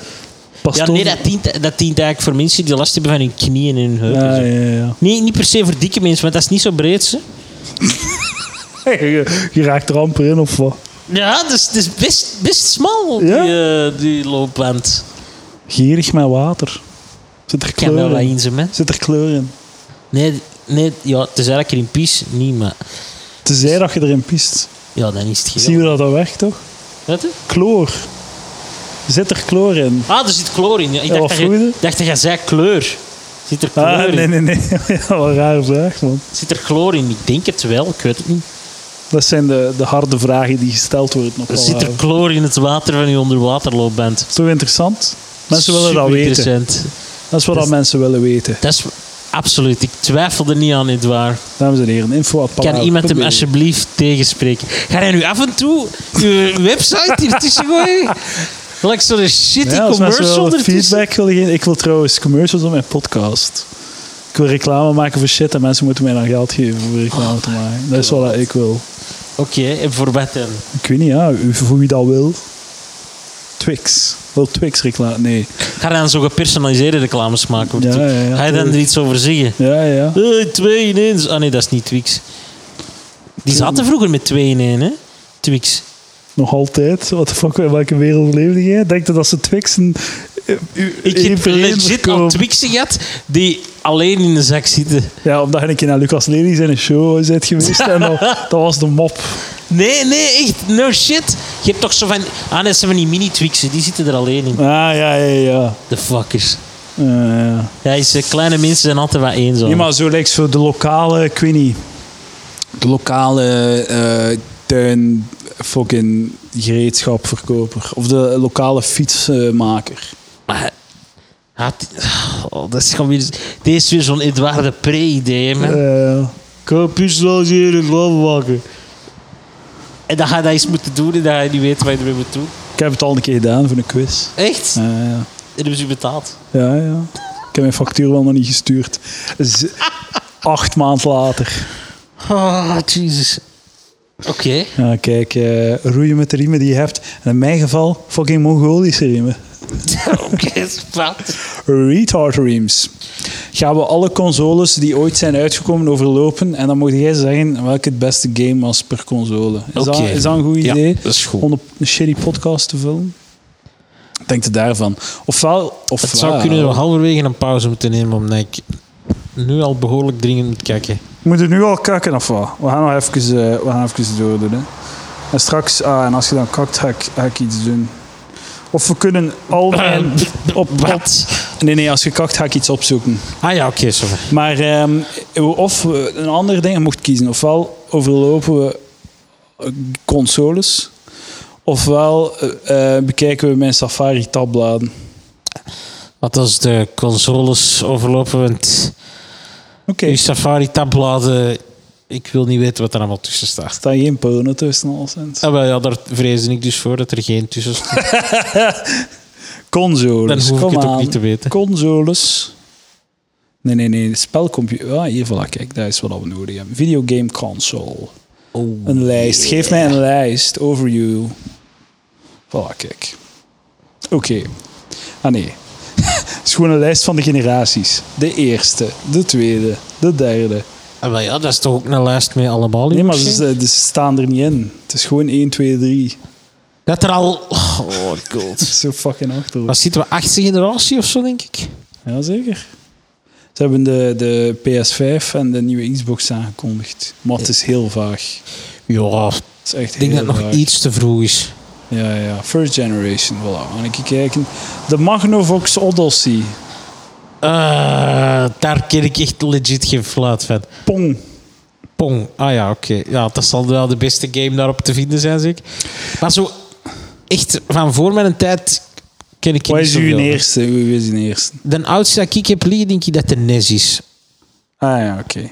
S2: Pas
S3: Ja,
S2: toch-
S3: nee, dat dient, dat dient eigenlijk voor mensen die last hebben van hun knieën en hun heupen.
S2: Ja,
S3: zo.
S2: ja, ja. <laughs>
S3: Nee, niet per se voor dikke mensen, want dat is niet zo breed. Ze.
S2: Je, je raakt er amper in of wat?
S3: Ja, dat is, dat is best, best smal,
S2: Ja?
S3: die, eh, die loopband.
S2: Gierig met water. Zit er
S3: Kan wel
S2: kleur
S3: wat
S2: in?
S3: in zijn, hè.
S2: Zit er kleur in?
S3: Nee, nee ja, tenzij dat ik er in pies, niet, maar...
S2: Tenzij dat je erin piest.
S3: Ja, dan is het geel.
S2: Zie je dat dat werkt, toch?
S3: Wat, hè?
S2: Kloor. Zit er kloor in?
S3: Ah, er zit kloor in. Ja, Ik
S2: Ja, wat
S3: dacht, dat,
S2: vloeide?
S3: je, dacht dat je zei kleur. Zit er kloor
S2: Ah,
S3: in?
S2: nee, nee, nee. <laughs> Ja, wat een rare vraag, man.
S3: Zit er kloor in? Ik denk het wel, ik weet het niet.
S2: Dat zijn de, de harde vragen die gesteld worden op
S3: Zit er
S2: Alharen.
S3: kloor in het water van je onderwaterloopband?
S2: Is toch interessant? Mensen willen dat weten.
S3: Superinteressant.
S2: Dat is wat
S3: Dat
S2: dat
S3: is-
S2: mensen willen weten.
S3: Dat is absoluut. Ik twijfel er niet aan, niet waar.
S2: Dames en heren, info at
S3: Kan iemand hem
S2: palaver.be.
S3: alsjeblieft tegenspreken? Ga jij nu af en toe je <laughs> website hier tussen gooien? Gelijk zo'n shitty
S2: Ja, als mensen
S3: commercial
S2: wel
S3: ertussen.
S2: feedback willen geven. Ik wil trouwens commercials op mijn podcast. Ik wil reclame maken voor shit en mensen moeten mij dan geld geven om reclame
S3: Oh,
S2: te maken. Dat is wel wat ik wil.
S3: Oké, en voor wat dan?
S2: Ik weet niet, ja, u- voor wie dat wil. Twix. Wil Twix reclame? Nee.
S3: Ga dan zo gepersonaliseerde reclames maken? voor
S2: Ja,
S3: Twix?
S2: ja, ja,
S3: Ga je dan er
S2: tuurlijk.
S3: iets over zeggen?
S2: Ja, ja.
S3: Eh, twee in één. Ah nee, dat is niet Twix. Die zaten vroeger met twee in één, hè? Twix.
S2: Nog altijd. Wat de fuck, in welke wereld leefde jij? Denk je dat ze Twixen... eh, u-
S3: Ik
S2: één
S3: heb
S2: per één
S3: legit
S2: verkopen?
S3: al Twixen gehad die alleen in de zak zitten.
S2: Ja, omdat je een keer naar Lucas Lely zijn show bent geweest en
S3: <laughs>
S2: dat, dat was de mop.
S3: Nee, nee, echt. No shit. Je hebt toch zo van... Ah, nee, dat zijn van die mini-Twixen. Die zitten er alleen in.
S2: Ah, ja, ja, ja.
S3: De fuckers.
S2: Ja, ja.
S3: Ja, is, eh, kleine mensen zijn altijd wat eenzaam.
S2: Nee, maar zo lijkt zo de lokale, ik weet niet, de lokale eh, tuin fucking gereedschapverkoper. Of de lokale fietsmaker.
S3: Maar- Had- oh, dat is gewoon weer... Dit is weer zo'n Edouard de Pre-idee, man.
S2: Eh,
S3: Koop je zoals hier in Lommelakken. En dan ga je dat eens moeten doen en dan ga je niet weten wat je ermee moet doen.
S2: ik heb het al een keer gedaan voor een quiz.
S3: Echt?
S2: Eh,
S3: En
S2: ja.
S3: dan hebben ze je betaald.
S2: ja, ja. Ik heb mijn factuur wel nog niet gestuurd. Z- <laughs> acht maanden later.
S3: Oh, Jesus. Oké.
S2: Ja, kijk, eh, roeien met de riemen die je hebt. En in mijn geval fucking Mongolische riemen.
S3: <laughs> Oké, spannend.
S2: Retard Reams. Gaan we alle consoles die ooit zijn uitgekomen overlopen en dan moet jij zeggen welke het beste game was per console. Is,
S3: Oké.
S2: dat, is dat een goed
S3: Ja,
S2: idee?
S3: dat is goed.
S2: Om op een shitty podcast te vullen? Denk er daarvan. Ofwel, ofwel...
S3: Het zou kunnen dat we halverwege een pauze moeten nemen, omdat ik nu al behoorlijk dringend moet kijken.
S2: We moeten nu al kakken of wat? We gaan nog even, eh, we gaan even doordoen. Hè. En straks, ah, en als je dan kakt, ga ik, ga ik iets doen. Of we kunnen al
S3: <laughs>
S2: mijn... op, op, nee, nee, als je kakt, ga ik iets opzoeken.
S3: Ah ja, oké, sorry.
S2: Maar ehm, of we een ander ding mocht kiezen. Ofwel overlopen we eh, consoles. Ofwel eh, eh, bekijken we mijn Safari tabbladen.
S3: Wat als de consoles overlopen, want
S2: Oké.
S3: uw
S2: Er
S3: Safari-tabbladen... Ik wil niet weten wat er allemaal tussen staat.
S2: staan geen porno tussen alleszins.
S3: Ah, wel, ja, daar vreesde ik dus voor dat er geen tussen staat. Dan
S2: Consoles,
S3: hoef ik
S2: kom
S3: het ook
S2: aan.
S3: niet te weten.
S2: Consoles. Nee, nee, nee. Spelcomputer. Ah, hier, voilà, kijk. Dat is wat we nodig hebben. Videogame console.
S3: <laughs> Oh.
S2: Een lijst. Geef mij een lijst. Overview. Voilà, kijk. Oké. Ah nee. <laughs> Het is gewoon een lijst van de generaties. De eerste, de tweede, de derde.
S3: Ah, wel, ja, dat is toch ook een lijst met allemaal in?
S2: Nee, maar
S3: misschien?
S2: ze, ze staan er niet in. Het is gewoon 1, 2, 3.
S3: Dat er al... Oh, god.
S2: Zo fucking achterhoofd.
S3: Wat zitten we? Achtste generatie of zo, denk ik?
S2: Jazeker. Ze hebben de, de PS5 en de nieuwe Xbox aangekondigd. Maar het is heel vaag.
S3: Ja, ik
S2: Het is echt
S3: denk
S2: heel
S3: dat het
S2: vaag.
S3: nog iets te vroeg is.
S2: Ja, ja. First Generation, voilà. Gaan ik kijken. De Magnavox Odyssey.
S3: Eh, daar ken ik echt legit geen fluit van.
S2: Pong.
S3: Pong. Ah ja, oké. Ja, dat zal wel de beste game daarop te vinden zijn, zeg. Maar zo echt van voor mijn tijd ken ik
S2: Wat
S3: niet
S2: is uw
S3: zoveel.
S2: eerste? Wie is uw eerste?
S3: De oudste dat ik heb liggen, denk ik dat de NES is.
S2: Ah ja, oké. Ik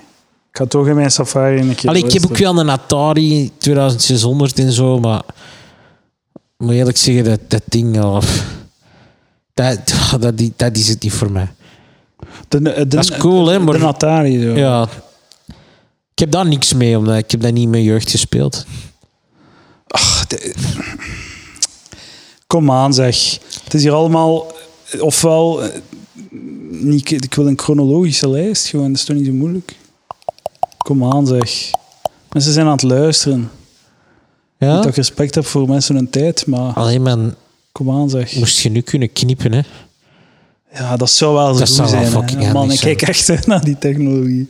S2: ga toch in mijn safari een keer
S3: Allee, ik heb ook
S2: luisteren.
S3: wel een Atari 2600 en zo, maar... Ik moet eerlijk zeggen, dat, dat ding... al- <laughs> Dat, dat, dat is het niet voor mij.
S2: De, de,
S3: Dat is cool, hè, maar-
S2: De Atari, zo.
S3: Ja. Ik heb daar niks mee, omdat ik heb dat niet in mijn jeugd gespeeld.
S2: Kom aan, zeg. Het is hier allemaal... Ofwel... eh, Niet, ik wil een chronologische lijst, gewoon. Dat is toch niet zo moeilijk? Kom aan, zeg. Mensen zijn aan het luisteren.
S3: Ja?
S2: Niet dat ik respect heb voor mensen hun tijd, maar
S3: Alleen man,
S2: kom aan, zeg.
S3: moest je nu kunnen knippen, hè?
S2: Ja, dat zou wel zo
S3: Dat
S2: goed
S3: zou wel
S2: zijn. hè.
S3: fucking handig
S2: man, ik
S3: zijn.
S2: kijk echt <laughs> uit naar die technologie.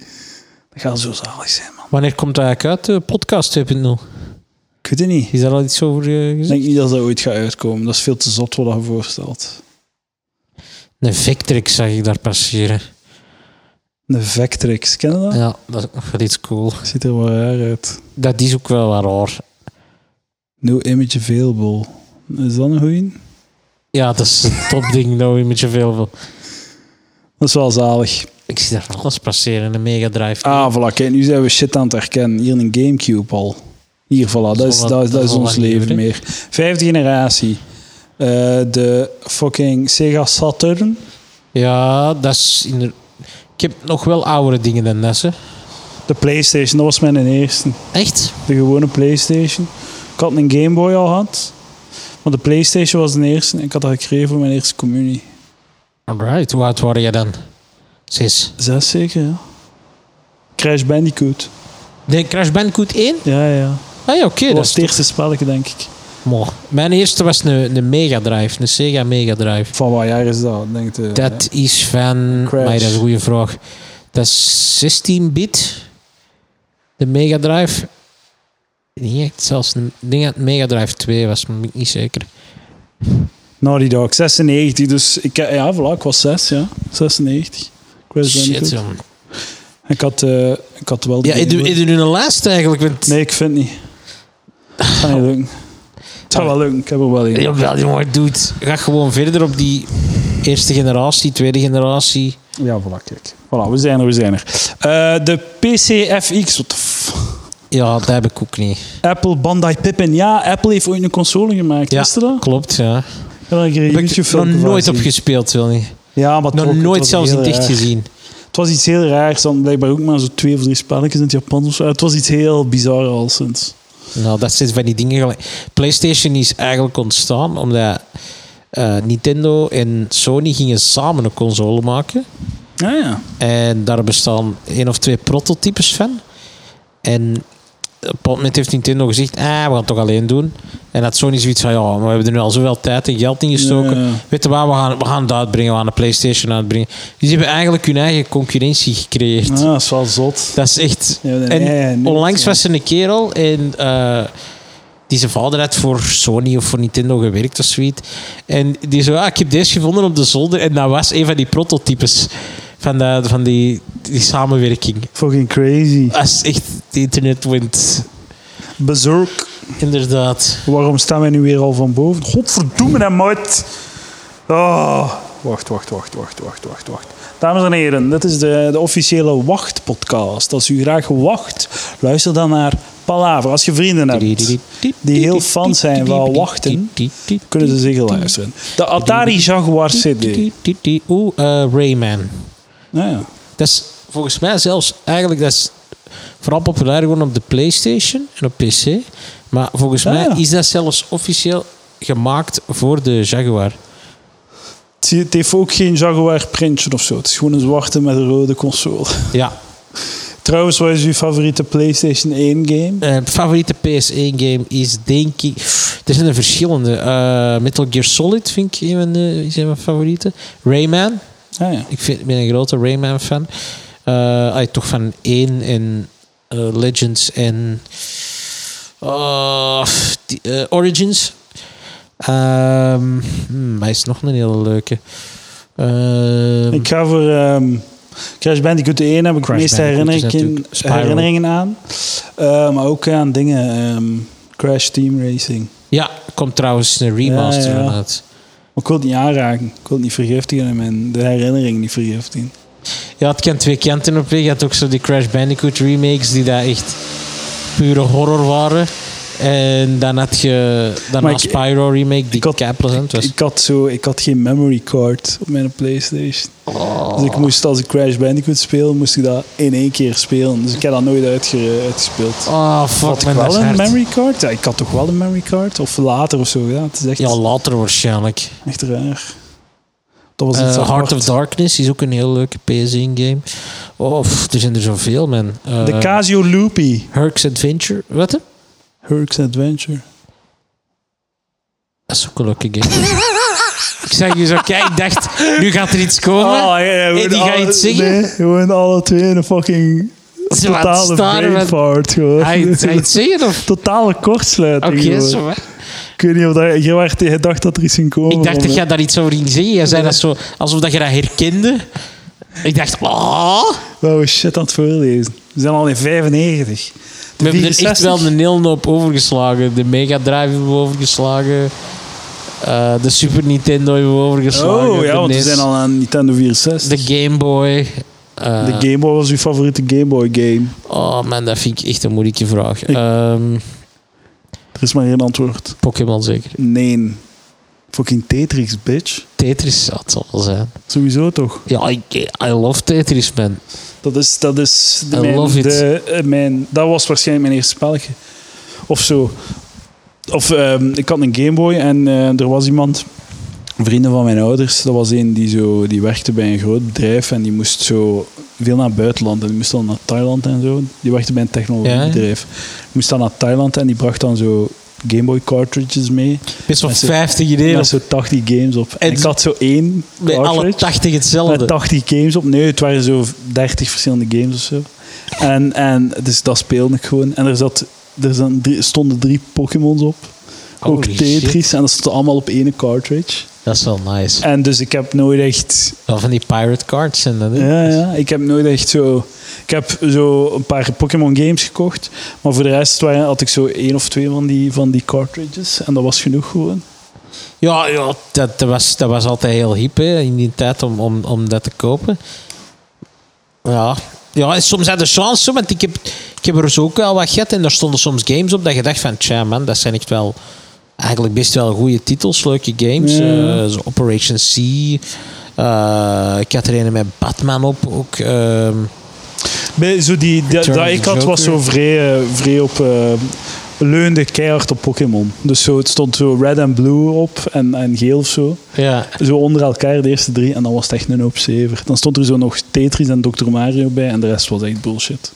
S2: Dat gaat zo zalig zijn, man.
S3: Wanneer komt dat eigenlijk uit, de podcast 2.0?
S2: Ik weet het niet.
S3: Is daar al iets over eh,
S2: Ik
S3: gezegd?
S2: denk niet dat dat ooit gaat uitkomen. Dat is veel te zot wat je voorstelt.
S3: Een Vectrex zag ik daar passeren.
S2: Een Vectrex, ken je dat?
S3: Ja, dat is ook wel iets cool.
S2: Ziet er wel raar uit.
S3: Dat is ook wel wat raar.
S2: No image available. Is dat een goeie?
S3: Ja, dat is een topding, nou, in met zoveel veel.
S2: Dat is wel zalig.
S3: Ik zie daar van alles passeren, een Mega Drive.
S2: Ah, voilà, kijk, nu zijn we shit aan het herkennen. Hier een Gamecube al. Hier, voilà, dat is,
S3: wat-
S2: dat is, dat
S3: dat
S2: is
S3: is
S2: ons
S3: wel wat
S2: leven
S3: nieuw,
S2: meer. Vijfde generatie. Eh, de fucking Sega Saturn.
S3: Ja, dat is... Inder... Ik heb nog wel oudere dingen dan dat, hè.
S2: De Playstation, dat was mijn eerste.
S3: Echt?
S2: De gewone Playstation. Ik had een Game Boy al gehad. Maar de Playstation was de eerste. en Ik had dat gekregen voor mijn eerste communie.
S3: Alright, hoe oud waren jij dan? Zes.
S2: Zes zeker, ja. Crash Bandicoot.
S3: De Crash Bandicoot 1?
S2: Ja, ja.
S3: Ah ja, oké.
S2: Dat
S3: dat
S2: was
S3: is
S2: het eerste spelletje, denk ik.
S3: toch- Mooi. Mijn eerste was een, een Mega Drive, een Sega Mega Drive.
S2: Van wat jaar is dat? Denk je,
S3: Dat is van...
S2: Crash.
S3: Maar dat is een goede vraag. Dat is 16-bit. De Mega Drive. Niet echt, zelfs een ik denk dat het Mega Drive 2 was, maar ben ik niet zeker.
S2: Naughty Dog, 96. Dus ik, ja, voilà, ik was zes, ja. 96. Crash
S3: Shit,
S2: Bandicoot.
S3: jong.
S2: Ik had, eh, ik had wel... de
S3: Ja,
S2: Game
S3: ik doe,
S2: Boy.
S3: ik doe nu een lijst eigenlijk. Want...
S2: Nee, ik vind het niet. Het gaat niet lukken. Het gaat wel lukken, ik heb er wel in.
S3: Jawel, jongen, dude. Ga gewoon verder op die eerste generatie, tweede generatie.
S2: Ja, voilà, kijk. Voilà, we zijn er, we zijn er. Eh, de PCFX, wat de f-
S3: Ja, dat heb ik ook niet.
S2: Apple Bandai Pippin. Ja, Apple heeft ooit een console gemaakt,
S3: Ja,
S2: wist je dat?
S3: Klopt, ja.
S2: Ik heb daar een
S3: Heb
S2: YouTube
S3: ik
S2: filmpje
S3: nog
S2: van
S3: nooit op
S2: gezien.
S3: gespeeld, wil niet.
S2: Ja, maar het
S3: Nog
S2: was- het
S3: nooit
S2: was
S3: zelfs
S2: heel
S3: niet echt
S2: raar.
S3: gezien.
S2: Het was iets heel raars. Dan blijkbaar ook maar zo twee of drie spelletjes in het Japans of zo. Het was iets heel bizar al sinds.
S3: Nou, dat zijn van die dingen gelijk. PlayStation is eigenlijk ontstaan omdat eh, Nintendo en Sony gingen samen een console maken. Ah,
S2: Ja, ja.
S3: En daar bestaan één of twee prototypes van. En op een bepaald moment heeft Nintendo gezegd, ah, we gaan het toch alleen doen. En had Sony zoiets van, ja, maar we hebben er nu al zoveel tijd en geld in gestoken.
S2: Ja.
S3: Weet je waar, we gaan, we gaan het uitbrengen, we gaan de Playstation uitbrengen. Dus die hebben eigenlijk hun eigen concurrentie gecreëerd.
S2: Ah, dat is wel zot.
S3: Dat is echt...
S2: Ja, nee,
S3: en
S2: nee, nee,
S3: onlangs
S2: nee.
S3: was er een kerel en eh, die zijn vader had voor Sony of voor Nintendo gewerkt of zoiets. En die zo, ah, ik heb deze gevonden op de zolder. En dat was een van die prototypes van, de, van die, die samenwerking.
S2: Fucking crazy.
S3: Dat is echt de internet wint.
S2: Berserk.
S3: Inderdaad.
S2: Waarom staan wij nu weer al van boven? Godverdomme, dat moet. Oh. Wacht, wacht, wacht, wacht, wacht, wacht, wacht. Dames en heren, dit is de, de officiële Wacht-podcast. Als u graag wacht, luister dan naar Palaver. Als je vrienden hebt die heel fan zijn van wachten, kunnen ze zeker luisteren. De Atari Jaguar CD.
S3: Oeh, eh, Rayman.
S2: Nou ja.
S3: Dat is volgens mij zelfs eigenlijk dat is vooral populair gewoon op de PlayStation en op PC. Maar volgens
S2: Ja,
S3: mij
S2: ja.
S3: is dat zelfs officieel gemaakt voor de Jaguar.
S2: Het het heeft ook geen Jaguar printje of zo. Het is gewoon een zwarte met een rode console. <laughs>
S3: Ja.
S2: Trouwens, wat is uw favoriete PlayStation 1 game?
S3: Eh, favoriete PS1-game is denk ik. Er zijn er verschillende. Eh, Metal Gear Solid vind ik een van, de, is een van mijn favorieten. Rayman.
S2: Ah, ja.
S3: Ik vind, ben een grote Rayman-fan. Eh, ah, toch van 1 en eh, Legends en ah, die, eh, Origins. Ehm hmm, hij is nog een hele leuke. Ehm,
S2: Ik ga voor ehm, Crash Bandicoot 1 heb ik de
S3: Crash
S2: meeste
S3: Bandicoot is
S2: herinneringen-
S3: natuurlijk Spyro.
S2: herinneringen aan. Eh, maar ook aan dingen. ehm, Crash Team Racing.
S3: Ja, komt trouwens een remaster
S2: Ja, ja.
S3: inderdaad.
S2: Maar ik wil het niet aanraken. Ik wil het niet vergiftigen en mijn, de herinnering niet vergiftigen.
S3: Je had kent twee kanten op weg. Je had ook zo die Crash Bandicoot remakes die daar echt pure horror waren. En dan had je daarna
S2: Maar ik-
S3: Spyro remake die
S2: ik had-
S3: kei plezant was.
S2: Ik, had zo, ik had geen memory card op mijn Playstation.
S3: Oh.
S2: Dus ik moest, als ik Crash Bandicoot speel, moest ik dat in één keer spelen. Dus ik heb dat nooit uitge- uitgespeeld.
S3: Oh, fuck
S2: had
S3: man,
S2: ik
S3: dat is
S2: wel een
S3: hard.
S2: memory card? Ja, ik had toch wel een memory card? Of later of zo. Ja, het is echt,
S3: Ja, later waarschijnlijk.
S2: echt raar. Dat was
S3: Eh,
S2: iets apart.
S3: Heart of Darkness is ook een heel leuke PS1 game. Oh, pff, er zijn er zoveel, man. Eh,
S2: De Casio Loopy.
S3: Herc's Adventure. Wat? hè?
S2: Herc's Adventure.
S3: Dat is ook een leuke game. <laughs> ik zag je zo kijken, ik dacht, nu gaat er iets komen.
S2: Ah, ja,
S3: gewoon die ga je alle- het zingen? nee,
S2: gewoon alle twee een fucking
S3: Ze laat totale staren met- Hij hij
S2: <laughs>
S3: het zeggen <laughs> of...
S2: Totale kortsluiting.
S3: Oké, zo, hè.
S2: Ik weet niet of dat, je, echt, je dacht dat er iets ging komen.
S3: Ik dacht dat jij daar iets over ging zeggen. Jij zei dat zo, alsof dat je dat herkende. Ik dacht, oh.
S2: Wow, shit aan het voorlezen. We zijn al in 95.
S3: We hebben er echt
S2: 64?
S3: wel een heel hoop overgeslagen. De Mega Drive hebben we overgeslagen. Eh, de Super Nintendo hebben we overgeslagen.
S2: Oh ja,
S3: de
S2: want we
S3: NES,
S2: zijn al aan Nintendo 64.
S3: De Game Boy. Eh,
S2: De Game Boy was uw favoriete Game Boy game.
S3: Oh man, dat vind ik echt een moeilijke vraag. Ehm,
S2: Er is maar één antwoord.
S3: Pokémon zeker.
S2: Nee. Fucking Tetris, bitch.
S3: Tetris zou het wel zijn.
S2: Sowieso toch?
S3: Ja, ik, eh, I love Tetris, man.
S2: Dat is, dat is de-
S3: I
S2: mijn,
S3: love it.
S2: de- eh, mijn... Dat was waarschijnlijk mijn eerste spelletje. Of zo. Of ehm, ik had een Gameboy en eh, er was iemand, vrienden van mijn ouders, dat was een die, zo, die werkte bij een groot bedrijf en die moest zo veel naar het buitenland. En die moest dan naar Thailand en zo. Die werkte bij een technologiebedrijf. Moest dan naar Thailand en die bracht dan zo Gameboy cartridges mee.
S3: Best wel
S2: Met zo-
S3: 50 ideeën.
S2: Met zo 80 games op. En
S3: En
S2: ik had zo één
S3: Bij alle
S2: cartridge.
S3: 80 hetzelfde.
S2: Met 80 games op. Nee, het waren zo 30 verschillende games of zo. En, en dus dat speelde ik gewoon. En er, zat, er zat drie, stonden drie Pokémon's op. ook
S3: Holy
S2: Tetris.
S3: shit.
S2: En dat stond allemaal op ene cartridge.
S3: Dat is wel nice.
S2: En dus ik heb nooit echt...
S3: Wel van die pirate cards en dat. hè?
S2: Ja, ja, ik heb nooit echt zo... Ik heb zo een paar Pokémon games gekocht. Maar voor de rest waren, had ik zo één of twee van die, van die cartridges. En dat was genoeg gewoon.
S3: Ja, ja dat, dat, was, dat was altijd heel hip hè, in die tijd om, om, om dat te kopen. Ja. Ja, en soms had je chance, hoor, want ik heb, ik heb er zo ook wel wat gehad en daar stonden soms games op dat je dacht van, tja man, dat zijn echt wel eigenlijk best wel goede titels, leuke games.
S2: Ja.
S3: Eh, zo Operation C. eh, ik had er een met Batman op ook. ehm,
S2: Bij, zo die, dat,
S3: Return
S2: dat
S3: of the
S2: ik had was zo
S3: Joker.
S2: vrij, eh, vrij op... eh, leunde keihard op Pokémon. Dus zo, het stond zo red en blue op en, en geel of zo.
S3: ja.
S2: Zo onder elkaar de eerste drie en dan was het echt een hoop zever. Dan stond er zo nog Tetris en Dr. Mario bij en de rest was echt bullshit.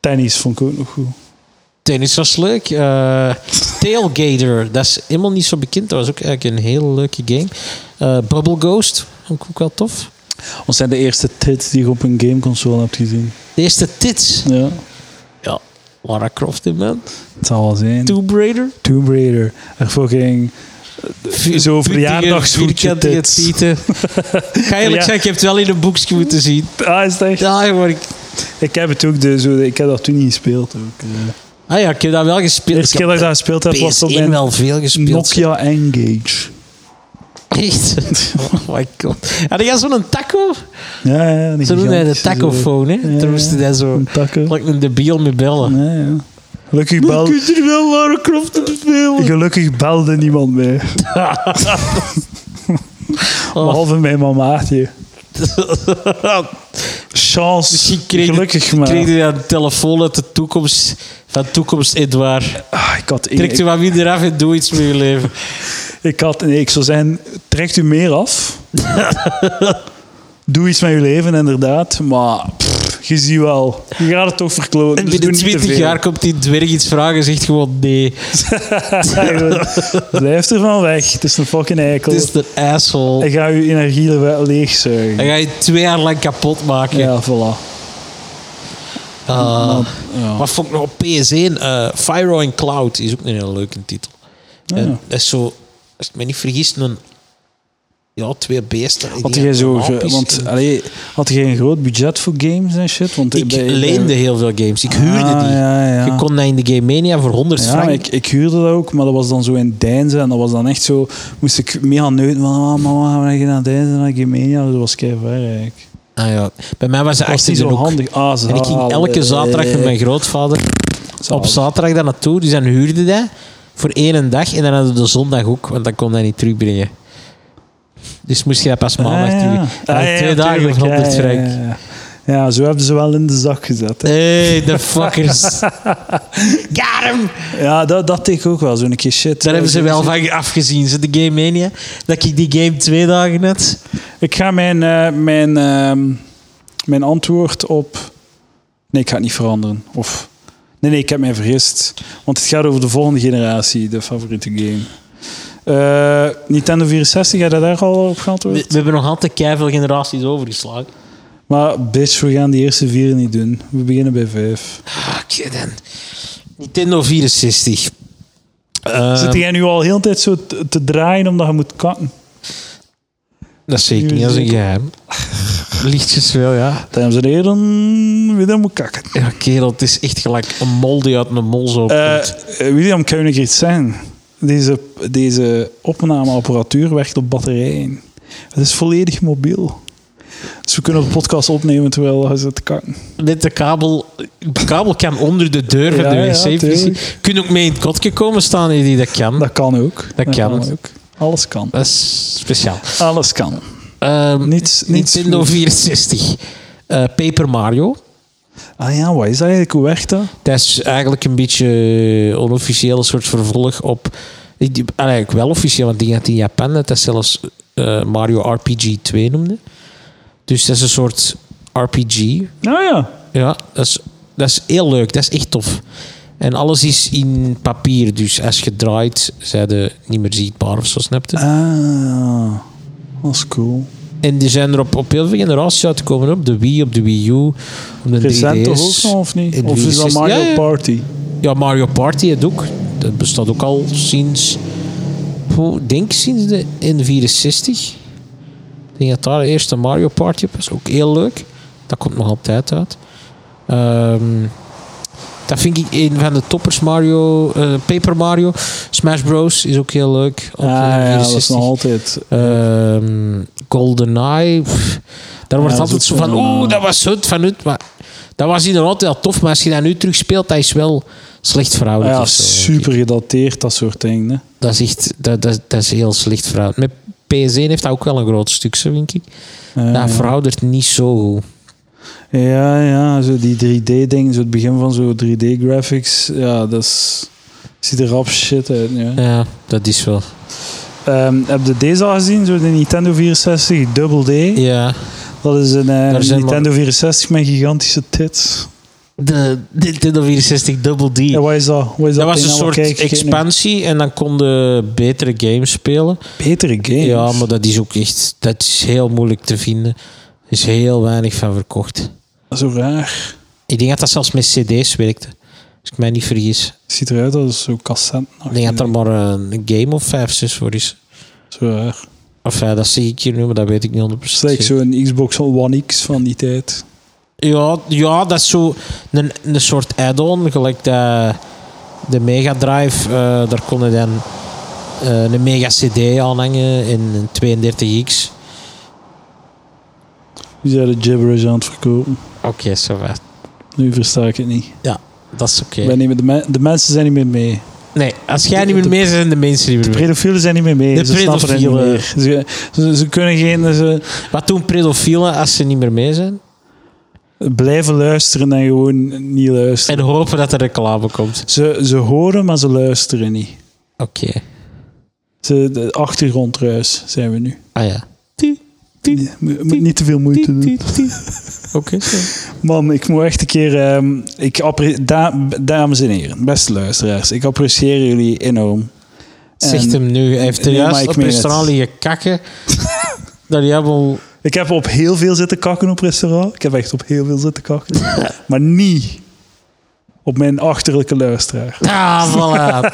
S2: Tennis vond ik ook nog goed.
S3: Tennis was leuk. Eh, Tailgater, dat is helemaal niet zo bekend. Dat was ook eigenlijk een hele leuke game. Eh, Bubble Ghost, vond ik ook wel tof.
S2: Wat zijn de eerste tits die je op een gameconsole hebt gezien?
S3: De eerste Tits.
S2: Ja,
S3: Ja, Lara Croft in man.
S2: het zal wel zijn.
S3: Tomb Raider.
S2: Tomb Raider. Er fucking... Zo'n verjaardagshoedje
S3: Vierkantige
S2: tits.
S3: tieten. Ik ga eerlijk
S2: Ja.
S3: zeggen, ik heb het wel in een boekje moeten zien.
S2: Ah, is het echt?
S3: Ja, maar ik...
S2: Ik heb het ook, de, zo, de- ik heb dat toen niet gespeeld. Ook. eh.
S3: Ah ja, ik heb dat wel
S2: De
S3: gespeeld.
S2: eerste keer dat ik dat gespeeld heb, was op
S3: PS1
S2: mijn
S3: wel veel gespeeld.
S2: Nokia Engage.
S3: <laughs> Echt? Oh my god. Had jij zo'n taco?
S2: Ja, ja. die
S3: Zo noemde hij eh,
S2: gigantische,
S3: de
S2: zo-
S3: tacofoon, hè?
S2: Ja,
S3: Toen moest hij dat zo...
S2: Een takken.
S3: Like een debiel met bellen.
S2: Ja, ja. Gelukkig, bel,
S3: je er wel Lara Croft op spelen?
S2: gelukkig belde niemand mee.
S3: <laughs> Oh.
S2: Behalve mijn mamaatje. Chance.
S3: Misschien kreeg,
S2: gelukkig maar.
S3: kreeg hij een telefoon uit de toekomst. Van toekomst, Edouard.
S2: Ah, ik had,
S3: Trek
S2: ik,
S3: er wat minder af en doe iets met je
S2: <laughs>
S3: leven.
S2: ik had nee, ik zou zeggen, trekt u meer
S3: <laughs>
S2: af. Doe iets met uw leven, inderdaad. Maar pff, je ziet wel. Je gaat het toch verkloten.
S3: En
S2: Dus doe
S3: binnen
S2: niet te
S3: 20
S2: veel.
S3: jaar komt die dwerg iets vragen en zegt gewoon nee.
S2: Blijf ervan weg. Het is een fucking eikel.
S3: Het is de asshole.
S2: En ga je energie le- leegzuigen.
S3: Hij ga je twee jaar lang kapot maken.
S2: Ja, voilà.
S3: Ah.
S2: Ja.
S3: Wat vond ik nog op PS1? eh Fyro in Cloud
S2: Ah,
S3: is ook een hele leuke titel. En dat is zo, als ik me niet vergis, een Ja, twee beesten. die
S2: Had jij
S3: hebben
S2: zo... ge-
S3: wapens
S2: want,
S3: en-
S2: allee, had jij een groot budget voor games en shit? Want
S3: ik
S2: bij- bij-
S3: leende heel veel games. Ik huurde
S2: Ah,
S3: die.
S2: ja, ja.
S3: Je kon dat in de Game Mania voor 100
S2: Ja,
S3: frank.
S2: maar ik, ik huurde dat ook, maar dat was dan zo in Deinzen. En dat was dan echt zo... Moest ik mee gaan neuten van... Ah, mama, gaan we gaan naar Deinzen, naar Gemenia. Dat was keihard eigenlijk.
S3: Ah, ja. Bij mij was het
S2: Dat was niet
S3: achter
S2: zo
S3: de hoek.
S2: handig. Ah, Eh,
S3: En ik ging elke zaterdag met mijn grootvader op zaterdag daar naartoe. Dus dan huurde dat voor één dag. En dan hadden we de zondag ook, want dan kon dat niet terugbrengen. Dus moest je dat pas maandag
S2: Ah, ja.
S3: terug.
S2: Ah, ja,
S3: twee dagen
S2: tuurlijk,
S3: van 100
S2: ja, ja,
S3: frank.
S2: ja, ja. Ja, zo hebben ze wel in de zak gezet. hè.
S3: Hey, de fuckers.
S2: <laughs>
S3: Got him!
S2: Ja, dat, dat denk ik ook wel. Zo'n keer shit. Dus
S3: Daar hebben ze wel van afgezien, ze, de Game Mania. Dat ik die game twee dagen net.
S2: Ik ga mijn, eh, mijn, ehm, mijn antwoord op. Nee, ik ga het niet veranderen. Of. Nee, nee, ik heb mij vergist. Want het gaat over de volgende generatie, de favoriete game. Eh, Nintendo 64, heb je daar al op geantwoord?
S3: We, we hebben nog altijd keiveel generaties overgeslagen.
S2: Maar bitch, we gaan die eerste vier niet doen. We beginnen bij vijf.
S3: Ah, Oké dan. Nintendo 64. Ehm,
S2: Zit jij nu al heel de tijd zo te, te draaien omdat je moet kakken?
S3: dat is zeker niet, dat is een geheim. Lichtjes wel, ja.
S2: Dames en heren, William moet kakken.
S3: Ja, kerel, het is echt gelijk een mol die uit een mol zo
S2: Eh,
S3: komt.
S2: William, kan je nog iets zeggen? Deze, deze opnameapparatuur werkt op batterijen. Het is volledig mobiel. Dus we kunnen de podcast opnemen terwijl hij zit te kakken.
S3: Met de kabel... De kabel kan onder de deur van
S2: Ja,
S3: de
S2: ja,
S3: wc-visie.
S2: tuurlijk.
S3: Kun je ook mee in het kotje komen staan, Eddie, dat kan. Dat,
S2: Dat kan ook.
S3: Hm? Dat kan.
S2: ook. Alles kan.
S3: is speciaal.
S2: Alles kan.
S3: Ehm,
S2: Niets- niets
S3: Nintendo
S2: moet.
S3: 64. Eh, Paper Mario.
S2: Ah ja, wat is dat eigenlijk? Hoe werkt dat?
S3: Dat is eigenlijk een beetje onofficieel een soort vervolg op. ik- die- Eigenlijk wel officieel, want die had in Japan dat dat zelfs eh, Mario RPG 2 noemde. Dus dat is een soort RPG.
S2: Nou ja.
S3: Ah, Ja, dat is, dat is heel leuk. Dat is echt tof. En alles is in papier, dus als je draait, zijn de niet meer zichtbaar of zo, snap je?
S2: Ah, dat is cool.
S3: En die zijn er op, op heel veel generaties uitgekomen. Op de Wii, op de Wii U, op de
S2: Recent toch ook
S3: 3DS.
S2: nog, of niet?
S3: in
S2: Of is dat
S3: 64?
S2: Mario
S3: Ja, ja.
S2: Party?
S3: Ja, Mario Party het ook. Dat bestaat ook al sinds. Poeh, Ik denk sinds de N64. Ik denk dat daar de eerste Mario Party op is. Ook heel leuk. Dat komt nog altijd uit. Ehm, dat vind ik een van de toppers. Mario, eh, Paper Mario. Smash Bros. is ook heel leuk. Op
S2: Ah,
S3: de
S2: ja, dat is
S3: 64.
S2: nog altijd.
S3: Oh, Ehm, GoldenEye. pff, Daar wordt
S2: dat
S3: altijd
S2: is
S3: zo
S2: ook
S3: van,
S2: zo'n,
S3: oeh,
S2: eh,
S3: dat was zut van het. Maar dat was inderdaad wel tof, maar als je dat nu terugspeelt, dat is wel slecht
S2: Ah
S3: verouderd.
S2: ja,
S3: of zo.
S2: super gedateerd, dat soort dingen. hè.
S3: Dat is echt, dat, dat, dat is heel slecht verouderd. Met PS1 heeft dat ook wel een groot stuk, zo denk ik.
S2: Ja, ja.
S3: dat veroudert niet zo goed.
S2: Ja, ja, zo die 3D-dingen, zo het begin van zo 3D-graphics, ja, dat is, ziet er rap shit uit. Ja.
S3: Ja, dat is wel.
S2: Ehm, heb je deze al gezien, zo de Nintendo 64 Double D?
S3: Ja.
S2: Dat is een eh,
S3: Daar zijn
S2: Nintendo 64 met gigantische tits.
S3: De Nintendo 64 Double D.
S2: En wat is dat? Wat is
S3: dat
S2: dat
S3: was een
S2: ding allemaal?
S3: soort
S2: Kijk, kijk nu.
S3: expansie en dan konden betere games spelen.
S2: Betere games.
S3: Ja, maar dat is ook echt... Dat is heel moeilijk te vinden. Er is heel weinig van verkocht.
S2: Zo raar.
S3: Ik denk dat dat zelfs met cd's werkte. Als ik mij niet vergis.
S2: Ziet eruit als zo cassette.
S3: Ik denk dat er maar een game of vijf, zes voor is.
S2: Zo raar.
S3: Of ja, dat zie ik hier nu, maar dat weet ik niet 100%.
S2: Dat is like
S3: zeker.
S2: zo'n Xbox One X van die tijd.
S3: Ja, ja, dat is zo een, een soort add-on. Gelijk de, de Mega Drive, eh, daar kon je dan eh, een Mega CD aanhangen en een 32X.
S2: Die zijn de gibberish aan het verkopen.
S3: Oké, zo wat.
S2: Nu versta ik het niet.
S3: Dat is oké.
S2: Wij nemen de, me- de mensen zijn niet meer mee.
S3: Nee, als jij niet meer mee zijn de mensen niet meer mee.
S2: Pedofielen zijn niet meer mee.
S3: De
S2: ze snappen het niet
S3: pedofielen.
S2: meer. Ze, ze, ze kunnen geen. Ze
S3: Wat doen pedofielen als ze niet meer mee zijn?
S2: blijven luisteren en gewoon niet luisteren.
S3: En hopen dat er reclame komt.
S2: Ze, ze horen, maar ze luisteren niet.
S3: Oké.
S2: Ze, de achtergrondruis zijn we nu.
S3: Ah ja.
S2: Nee, moet- moet niet te veel moeite doen.
S3: Oké. zo.
S2: Man, ik moet echt een keer. ehm, ik appre- da- dames en heren, beste luisteraars, ik apprecieer jullie enorm. En
S3: Zegt hem nu. Hij heeft er
S2: Nee, maar
S3: juist
S2: ik
S3: op
S2: meen
S3: restaurant
S2: het. <laughs>
S3: liggen kakken. dat hij helemaal...
S2: Ik heb op
S3: <laughs>
S2: heel veel zitten kakken op restaurant. Ik heb echt op heel veel zitten kakken. maar niet op mijn achterlijke luisteraar.
S3: Ah, voilà.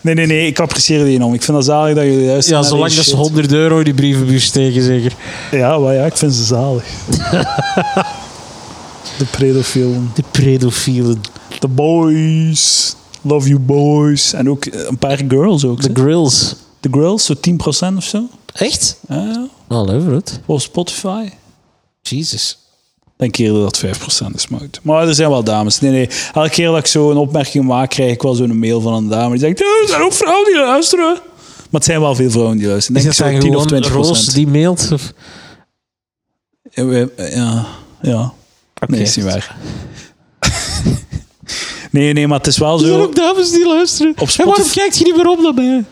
S2: Nee, nee, nee, ik apprecieer die enorm. Ik vind dat zalig dat jullie luisteren.
S3: Ja,
S2: naar
S3: zolang
S2: deze
S3: dat ze
S2: shit.
S3: 100 euro in die brievenbus steken, zeker.
S2: Ja, maar ja, ik vind ze zalig.
S3: <laughs>
S2: De predofielen.
S3: De pedofielen.
S2: The boys. Love you boys. En ook eh, een paar girls ook.
S3: De
S2: zeg.
S3: grills.
S2: De girls, zo 10% of zo.
S3: Echt?
S2: Ja, ja.
S3: All over het.
S2: Volgens Spotify.
S3: Jesus.
S2: Denk eerder dat 5% is, maar goed. Maar er zijn wel dames. Nee, nee. Elke keer dat ik zo een opmerking maak, krijg ik wel zo'n mail van een dame. Die zegt, "Ja, er zijn ook vrouwen die luisteren. Maar het zijn wel veel vrouwen die luisteren.
S3: Is
S2: Denk
S3: dat
S2: ik zo
S3: dan
S2: 10 of
S3: gewoon
S2: 20
S3: Roos die mailt? Of?
S2: Ja, Eh, we- Ja, ja. Nee, is niet waar. <laughs> nee, nee, maar het is wel
S3: Er zijn
S2: zo.
S3: ook dames die luisteren.
S2: Op
S3: En waarom
S2: Spotify-
S3: kijkt je niet meer op naar mij?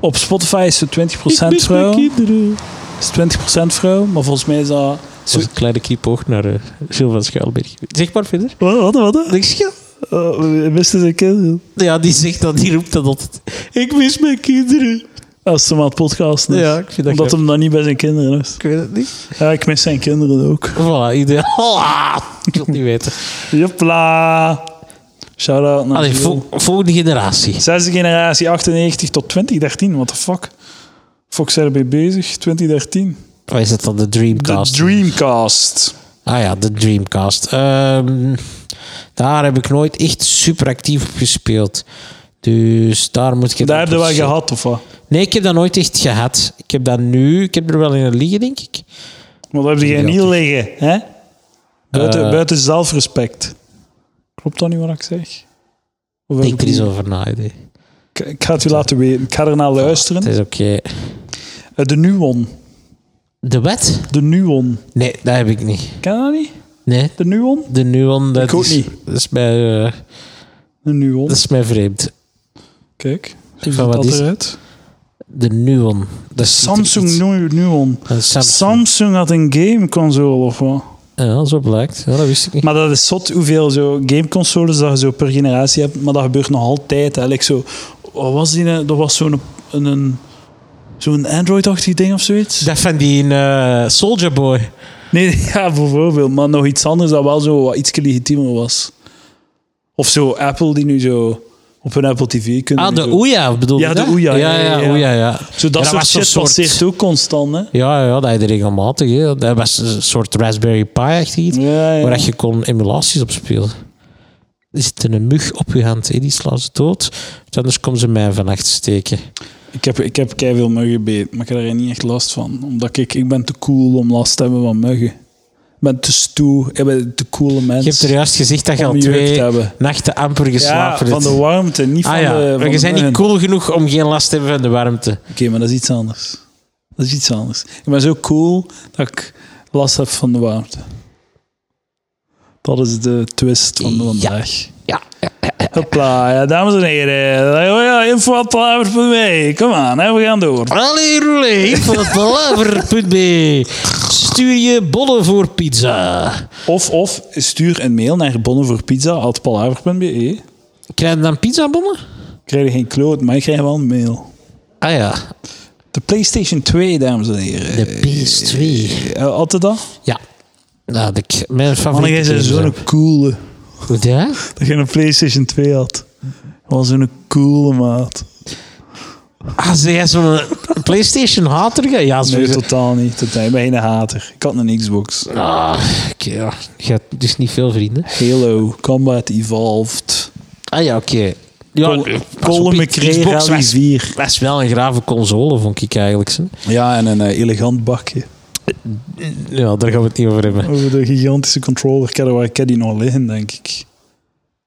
S2: Op Spotify is het 20%
S3: Ik mis mijn
S2: vrouw.
S3: kinderen.
S2: Is 20% vrouw, maar volgens mij is dat.
S3: Dat was een kleine kiepoog naar eh Gilles van Schuilberg. Zeg maar verder.
S2: Wat, wat, wat?
S3: Niks, Gilles?
S2: Wisten ze kinderen?
S3: Ja, die zegt dat, die roept dat altijd. Ik mis mijn kinderen.
S2: Als ze maar het podcast is.
S3: Ja, ik vind dat
S2: Omdat
S3: grappig.
S2: hem dan niet bij zijn kinderen is.
S3: Ik weet het niet.
S2: Ja, ik mis zijn kinderen ook.
S3: Voilà, ideaal. <laughs> Ah, Ik wil het niet weten.
S2: Jopla! Shout-out naar
S3: Allee,
S2: Gilles.
S3: vol- volgende generatie.
S2: Zesde generatie, 98 tot 2013. What the fuck? Fox zijn erbij bezig, 2013.
S3: Wat is dat dan? De
S2: De
S3: Dreamcast.
S2: Dreamcast.
S3: ah ja, de Dreamcast. Ehm, daar heb ik nooit echt super actief op gespeeld. Dus daar moet ik...
S2: Daar heb je wel
S3: gehad.
S2: gehad, of wat?
S3: Nee, ik heb dat nooit echt gehad. Ik heb dat nu... Ik heb er wel in een liggen, denk ik.
S2: Want daar heb je
S3: Idiotisch.
S2: niet liggen, hè? Buiten,
S3: Eh.
S2: buiten zelfrespect. Klopt dat niet wat ik zeg? Of heb
S3: Denk
S2: ik
S3: er eens
S2: niet-
S3: over na. idee.
S2: Ik, ik ga het u laten weten. Ik ga ernaar luisteren.
S3: Het is oké.
S2: Eh, De Nuon.
S3: De wet?
S2: De Nuon.
S3: Nee, dat heb ik niet.
S2: Ken je dat niet?
S3: Nee.
S2: De Nuon?
S3: De Nuon, dat
S2: Ik ook
S3: is...
S2: niet.
S3: Dat is mij, eh,
S2: De Nuon.
S3: dat is mij vreemd.
S2: Kijk.
S3: Dus- Van
S2: Ziet dat
S3: wat is-
S2: eruit?
S3: De Nuon. Dat is
S2: Samsung
S3: iets-
S2: Nu- Nuon.
S3: Een Samsung.
S2: Samsung had een gameconsole of wat?
S3: Ja, zo blijkt. Ja, dat wist ik niet.
S2: Maar dat is zot hoeveel zo gameconsoles dat je zo per generatie hebt. Maar dat gebeurt nog altijd. Hè. Like zo, wat was die? nou? Dat was zo'n een, een, zo'n Android-achtig ding of zoiets.
S3: Dat van die eh, Soldier Boy.
S2: Nee, <laughs> ja, bijvoorbeeld. Maar nog iets anders dat wel zo wat iets legitiemer was. Of zo Apple die nu zo op hun Apple TV kunnen.
S3: Ah,
S2: nu
S3: de
S2: zo,
S3: Ouya bedoel
S2: Ja,
S3: je
S2: de
S3: dat?
S2: Ouya,
S3: Ja, ja, ja. Ouya, ja.
S2: zo dat
S3: Ja,
S2: soort
S3: was zo'n
S2: shit passeert ook constant, hè?
S3: Ja, ja, dat je regelmatig. Hè. Dat was een soort Raspberry Pi-achtig iets.
S2: Ja, ja.
S3: Waar dat je kon emulaties op spelen. Er zit een mug op je hand, hè. die slaan ze dood. Want anders komen ze mij vannacht steken.
S2: Ik heb, ik heb keiveel muggen beet, maar ik heb daar niet echt last van. Omdat ik, ik ben te cool om last te hebben van muggen. Ik ben te stoe, ik ben te coole mens.
S3: Je hebt er juist gezegd dat je al
S2: Om jeugd
S3: twee
S2: te hebben.
S3: nachten amper
S2: ja,
S3: geslapen
S2: van
S3: hebt.
S2: de warmte, niet van
S3: ah
S2: de
S3: ja,
S2: van
S3: maar je
S2: de
S3: bent niet
S2: muggen.
S3: cool genoeg om geen last te hebben van de warmte.
S2: Oké, maar dat is iets anders. Dat is iets anders. Ik ben zo cool dat ik last heb van de warmte. Dat is de twist van
S3: Ja.
S2: vandaag.
S3: Ja, ja.
S2: Hopla, ja, dames en heren. Oh ja, info.palaver.be. Kom aan, hè, we gaan door.
S3: Allee, roelee, info.palaver.be. Stuur je bonnen voor pizza.
S2: Of, of stuur een mail naar bonnenvoorpizza.palaver.be.
S3: Krijg je dan pizzabonnen?
S2: E. krijg je geen kloot, maar ik krijg wel een mail.
S3: Ah ja,
S2: De PlayStation 2, dames en heren.
S3: de PS2.
S2: Eh, altijd dat?
S3: Ja. Nou, de, mijn
S2: Mannen, jij
S3: favoriete
S2: bent
S3: games zijn.
S2: zo'n coole.
S3: Goed, hè?
S2: Dat je een PlayStation 2 had. was zo'n coole maat.
S3: Ah, zeg jij zo'n PlayStation-hater? Ja, Ja,
S2: Nee,
S3: sowieso.
S2: totaal niet. Totaal. Ik ben geen hater. Ik had een Xbox.
S3: Ah, oké, ja. Je hebt dus niet veel vrienden.
S2: Halo, Combat Evolved.
S3: Ah ja, oké. Ja, eh,
S2: Col-
S3: pas op,
S2: Colin
S3: die
S2: McRae
S3: Xbox
S2: Rally
S3: was,
S2: 4.
S3: was wel een grave console, vond ik eigenlijk. zo.
S2: Ja, en een eh, elegant bakje.
S3: Ja, daar gaan we het niet over hebben.
S2: Over de gigantische controller. Ik heb, er waar, ik heb die nog liggen, denk ik.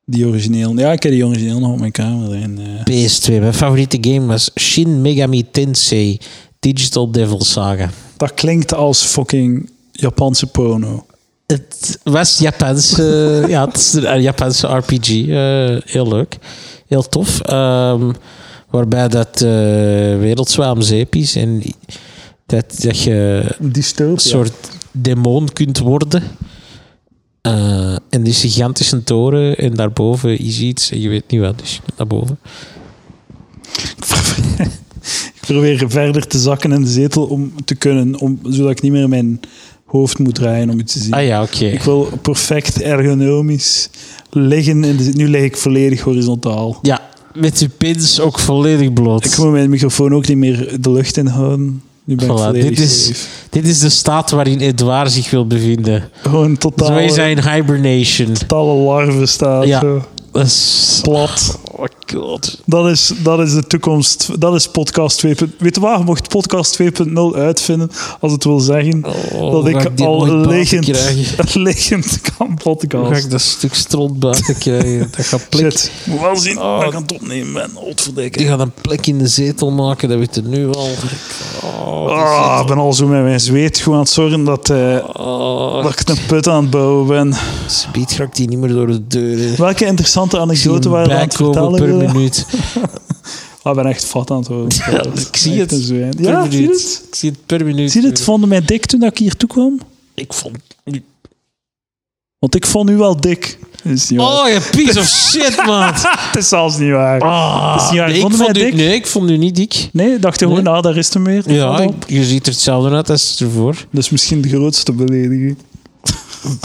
S2: Die origineel. Ja, ik heb die origineel nog op mijn kamer. En, eh,
S3: PS2, mijn favoriete game was Shin Megami Tensei Digital Devil Saga.
S2: dat klinkt als fucking Japanse porno.
S3: Het was Japanse, <laughs> ja, het is een Japanse RPG. eh, heel leuk. Heel tof. Ehm, waarbij dat eh wereldzwaai om zeep is en dat, dat je een
S2: Dystopia. <laughs>
S3: soort demon kunt worden. Eh, en die gigantische toren en daarboven is iets en je weet niet wat, dus je moet naar boven.
S2: Ik probeer verder te zakken in de zetel om te kunnen, om, zodat ik niet meer mijn hoofd moet draaien om het te zien.
S3: Ah ja, oké.
S2: Ik wil perfect ergonomisch liggen. In de, nu lig ik volledig horizontaal.
S3: Ja, met die pins ook volledig bloot.
S2: Ik moet mijn microfoon ook niet meer de lucht in houden. Nu ben ik
S3: Voilà,
S2: volledig
S3: dit is-
S2: safe.
S3: Dit is de staat waarin Edouard zich wil bevinden.
S2: Gewoon
S3: Zo is hij
S2: totale,
S3: in hibernation.
S2: totale larve staat.
S3: Ja.
S2: Zo.
S3: Dat is...
S2: Plat.
S3: Oh god.
S2: Dat is, dat is de toekomst. Dat is podcast 2.0. Weet je waar? Mocht podcast 2.0 uitvinden, als het wil zeggen
S3: Oh,
S2: dat
S3: ga
S2: ik
S3: dit
S2: al
S3: ooit buiten
S2: liggend, <laughs>
S3: krijgen?
S2: liggend kan
S3: Hoe ga ik
S2: podcasten.
S3: dat stuk
S2: <laughs>
S3: stront buiten krijgen? Dat gaat plek,
S2: Shit. Moet wel zien
S3: Oh.
S2: dat ik aan het opnemen ben. Godverdikke.
S3: die gaat een plek in de zetel maken, dat weet je nu al. Oh, die
S2: Ah, ik ben al zo met mijn zweet gewoon aan het zorgen dat, eh,
S3: zetel. Oh,
S2: dat ik een put aan het bouwen ben.
S3: speed raakt die niet meer door de deur.
S2: Welke interessante
S3: Ik zie
S2: anekdote
S3: hem
S2: waren we aan het
S3: bijkomen per
S2: vertellen? Willem?
S3: minuut.
S2: Ah, ik ben echt fat aan het worden.
S3: <laughs> Ja, ik zie
S2: Echt
S3: het.
S2: een zwijn.
S3: Per
S2: Ja,
S3: minuut.
S2: zie je het?
S3: Ik zie het per minuut. eh,
S2: Zie je het? Vonden mij dik toen ik hier toe kwam?
S3: Ik vond...
S2: Want ik vond u wel dik. Dat is niet waar.
S3: Oh, je piece of
S2: <laughs>
S3: shit, man.
S2: Het is zelfs niet waar.
S3: Ah,
S2: is niet waar.
S3: nee, ik
S2: Vonden
S3: vond
S2: wij
S3: u,
S2: dik?
S3: nee, ik vond u niet dik.
S2: Nee, dacht je gewoon,
S3: Nee?
S2: ah, daar is er meer.
S3: Ja,
S2: Dat
S3: ik- je ziet er hetzelfde uit als ervoor.
S2: is misschien de grootste belediging.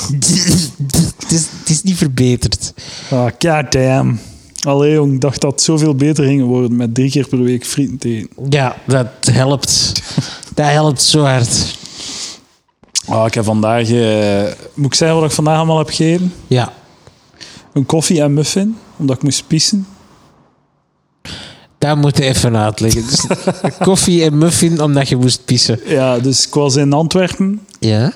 S3: het, is, het is niet verbeterd.
S2: Ah, goddamn. Allee, jong, ik dacht dat het zoveel beter ging worden met drie keer per week frieten te eten.
S3: Ja, dat helpt. dat helpt zo hard.
S2: Ah, ik heb vandaag... eh, moet ik zeggen wat ik vandaag allemaal heb gegeten?
S3: Ja.
S2: Een koffie en muffin, omdat ik moest pissen.
S3: Daar moet je even uitleggen.
S2: <laughs>
S3: Dus koffie en muffin omdat je moest pissen.
S2: Ja, dus ik was in Antwerpen.
S3: Ja.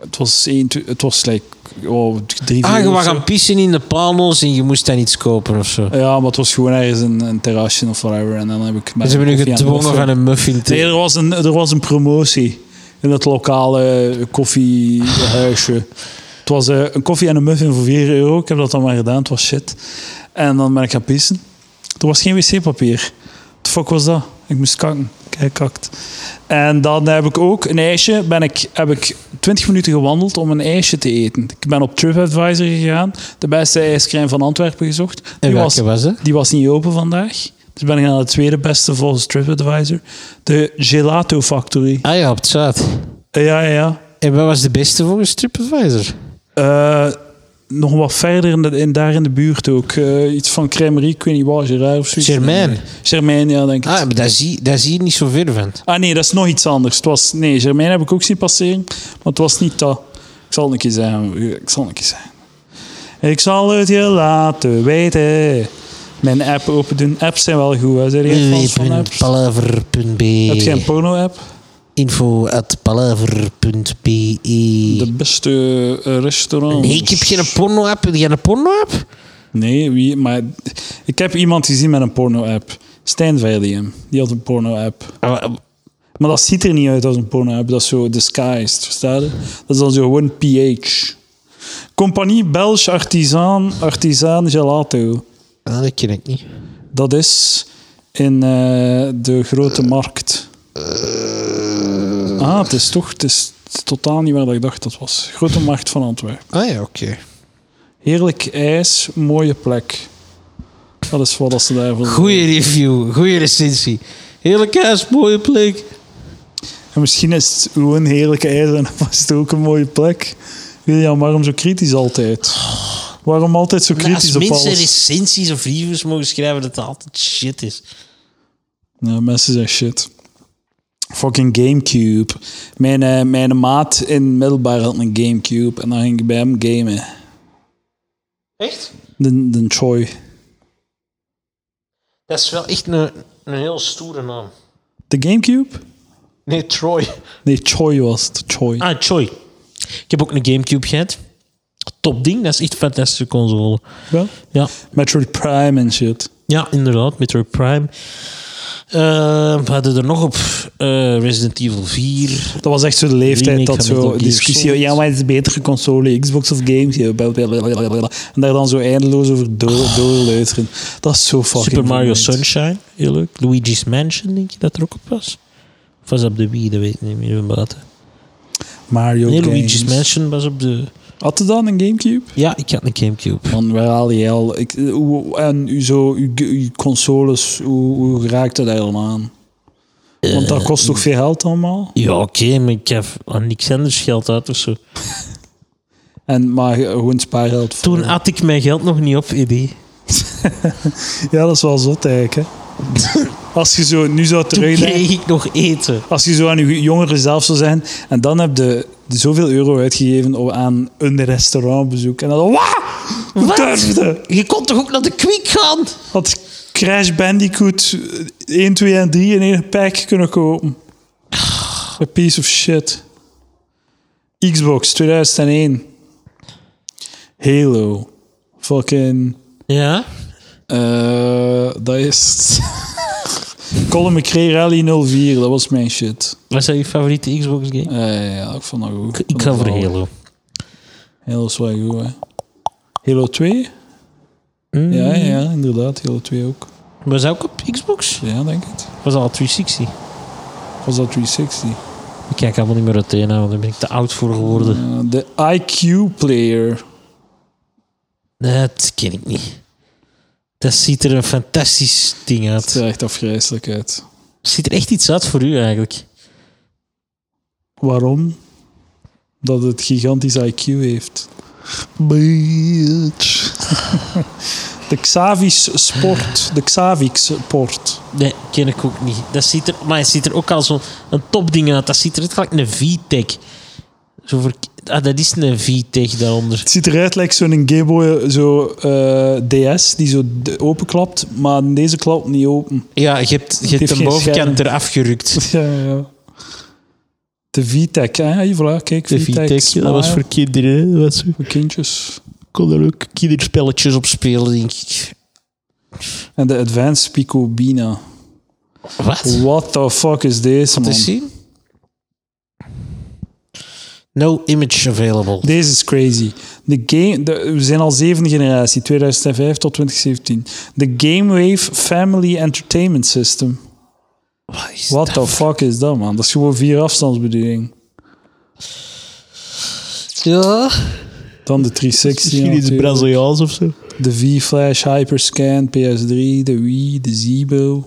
S2: Het was, één, twee- het was like, oh, drie,
S3: Ah,
S2: vier
S3: je
S2: uur of
S3: was
S2: zo.
S3: gaan pissen in de panels en je moest dan iets kopen of zo.
S2: Ja, maar het was gewoon ergens een, een terrasje of whatever. En dan heb ik...
S3: Ze hebben Dus nu
S2: koffie en
S3: gedwongen
S2: muffin.
S3: van een muffin
S2: Nee,
S3: te...
S2: er was een, er was een promotie in het lokale koffiehuisje. Het was eh, een koffie en een muffin voor 4 euro. Ik heb dat dan maar gedaan, het was shit. En dan ben ik gaan pissen. Er was geen wc-papier. What the fuck was dat? Ik moest kakken. Kijk, kakt. En dan heb ik ook een ijsje. Ben ik, heb ik 20 minuten gewandeld om een ijsje te eten. Ik ben op TripAdvisor gegaan. De beste ijscrème van Antwerpen gezocht.
S3: En
S2: Die was
S3: welke was dat?
S2: die was niet open vandaag. Dus ben ik naar de tweede beste volgens TripAdvisor. De Gelato Factory.
S3: Ah ja, op het zaad.
S2: Eh, ja, ja, ja.
S3: En wat was de beste volgens TripAdvisor?
S2: Eh, nog wat verder in de, in, daar in de buurt ook. Eh, iets van Crèmerie, ik weet niet waar, Gerard of zoiets.
S3: Germain.
S2: Germain, ja, denk ik.
S3: Ah,
S2: Ah.
S3: maar daar zie, daar zie je niet zoveel van.
S2: nee, dat is nog iets anders. Het was, nee, Germain heb ik ook zien passeren, maar het was niet dat. Ik zal het een keer zeggen. Ik zal het een keer zeggen. Ik zal het je laten weten. Mijn app open doen. Apps zijn wel goed, hè? Zijn jij fans van apps? Heb jij een
S3: www.palaver.be
S2: porno-app?
S3: Info at palaver.be
S2: De beste eh, restaurant.
S3: Nee, ik heb geen porno-app. Heb jij een porno-app?
S2: Nee, wie, maar ik heb iemand gezien met een porno-app. Stijn Valium, die had een porno-app.
S3: Ah, wa-
S2: Maar dat ziet er niet uit als een porno-app. Dat is zo disguised, verstaan je? Dat is dan zo gewoon PH. Compagnie Belge Artisan, Artisan Gelato.
S3: ah, dat ken ik niet.
S2: Dat is in eh, de grote markt. Ah, het is toch het is totaal niet waar dat ik dacht dat was. Grote markt van Antwerpen.
S3: Ah ja, oké.
S2: Heerlijk ijs, mooie plek. Dat is wat als ze daarvoor
S3: Goeie review, goeie recensie. Heerlijk huis, mooie plek.
S2: En misschien is het gewoon heerlijke ijs en was het ook een mooie plek. William, waarom zo kritisch altijd? Waarom altijd zo
S3: Maar als
S2: kritisch op
S3: mensen
S2: alles?
S3: recensies of reviews mogen schrijven, dat het altijd shit is.
S2: Ja, mensen zijn shit. Fucking Gamecube. Mijn, eh, mijn maat in middelbaar had een Gamecube en dan ging ik bij hem gamen.
S3: Echt?
S2: De, de Troy.
S3: Dat is wel echt een, een heel stoere naam.
S2: De Gamecube?
S3: Nee, Troy.
S2: Nee, Choi was het. Choi.
S3: Ah, Choi. Ik heb ook een Gamecube gehad. Top ding, dat is echt een fantastische console.
S2: Wel?
S3: Ja,
S2: Metroid Prime en shit.
S3: ja inderdaad, Metroid Prime. Eh, we hadden er nog op eh, Resident Evil 4.
S2: Dat was echt zo de leeftijd
S3: Remake
S2: dat
S3: van Metal
S2: zo
S3: Gear
S2: discussie.
S3: Solid.
S2: Ja, maar het is betere console, Xbox of games. ja, bla, bla, bla, bla, bla. En daar dan zo eindeloos over door, doorleuteren. Dat is zo fucking.
S3: Super Mario
S2: vermoeiend.
S3: Sunshine, heel leuk. Luigi's Mansion, denk je dat er ook op was? Of was dat op de Wii, dat weet ik niet meer. van buiten.
S2: Mario
S3: Nee,
S2: games.
S3: Luigi's Mansion was op de...
S2: Had je dan een Gamecube?
S3: Ja, ik had een Gamecube.
S2: Man, waar haal je al? Ik, eh, hoe- en u zo, uw, ge- uw consoles, hoe, hoe raakte dat helemaal aan? Want dat kost toch veel geld allemaal?
S3: Ja, oké, maar ik heb aan niks anders geld uit of zo.
S4: En maar gewoon spaargeld. voor-
S3: Toen had ik mijn geld nog niet op, Eddie.
S2: Ja, dat is wel zot <laughs> eigenlijk. Hè. Als je zo nu zou
S3: Toen
S2: terugdenken,
S3: kreeg ik nog eten.
S2: als je zo aan je jongeren zelf zou zijn en dan heb je zoveel euro uitgegeven op- aan een restaurantbezoek en dan wauw,
S3: Wat?
S2: durfde!
S3: Je kon toch ook naar de Quick gaan?
S2: Had Crash Bandicoot 1, 2 en 3 in één pack kunnen kopen. A piece of shit. Xbox 2001. Halo. Fucking...
S3: Ja.
S2: eh, dat is... <laughs> Colin McRae Rally 04, dat was mijn shit.
S3: Wat zijn je favoriete Xbox Oh. game?
S2: Eh, ja, ik vond dat goed.
S3: Ik, ik ga voor Halo.
S2: Halo is wel goed, hè. Halo 2?
S3: Mm.
S2: Ja, ja, inderdaad. Halo 2 ook.
S3: Was dat ook op Xbox?
S2: Ja, denk het.
S3: Was dat al 360?
S2: Was dat 360?
S3: Ik kijk allemaal niet meer uit de want daar ben ik te oud voor geworden.
S2: Eh, De IQ-player.
S3: Dat ken ik niet. Dat ziet er een fantastisch ding
S2: Het
S3: uit.
S2: ziet er echt afgrijzelijk uit.
S3: eh, Ziet er echt iets uit voor u eigenlijk?
S2: Waarom? Dat het gigantisch IQ heeft. Bitch. <laughs> De Xavi's Sport. De Xavix Sport.
S3: Nee, ken ik ook niet. Dat ziet er, maar het ziet er ook al zo'n een topding uit. Dat ziet er net gelijk een VTech. Zo ver, ah, dat is een VTech daaronder.
S2: Het ziet eruit als zo'n Game Boy zo, eh, DS die zo d- openklapt, maar deze klapt niet open.
S3: Ja, je hebt, je
S2: heeft
S3: hebt de
S2: geen
S3: bovenkant
S2: scherm.
S3: eraf <laughs>
S2: <laughs>
S3: gerukt.
S2: Ja, ja. De VTech, hè? Voilà, kijk,
S3: De VTech,
S2: Smile
S3: dat was voor kinderen. Dat was,
S2: voor kindjes.
S3: kon er ook kinderspelletjes op spelen, denk ik.
S2: En de Advanced Pico Bina.
S3: Wat?
S2: What the fuck is deze, man?
S3: Te zien? No image available.
S2: Deze is crazy. De game, de- we zijn al zeven generatie, 2005 tot 2017. De GameWave Family Entertainment System.
S3: Wat is
S2: What
S3: dat?
S2: the fuck is dat, man? Dat is gewoon vier afstandsbediening.
S3: Ja.
S2: Dan de 360. natuurlijk.
S3: Braziliaans of zo.
S2: De V-Flash, Hyperscan, PS3, de Wii, de Zeebo.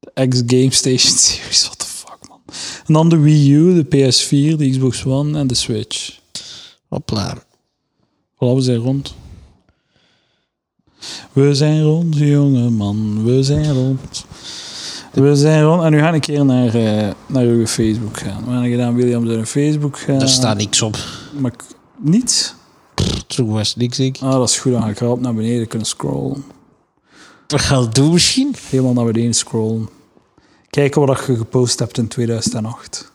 S2: De X-Game Station <laughs> Series, what the fuck, man. En dan de Wii U, de PS4, de Xbox One en de Switch.
S3: Hopla.
S2: Voilà, we zijn rond. We zijn rond, jongeman. We zijn rond. We zijn rond. En nu ga ik een keer naar, eh, naar uw Facebook gaan. We gaan gedaan William zijn Facebook gaan.
S3: Daar staat niks op.
S2: Maar ik- niet?
S3: Toen was niks, ik.
S2: Ah, dat is goed. Dan ga ik rap naar beneden kunnen scrollen.
S3: Wat gaat het doen misschien?
S2: Helemaal naar beneden scrollen. Kijken wat je gepost hebt in 2008.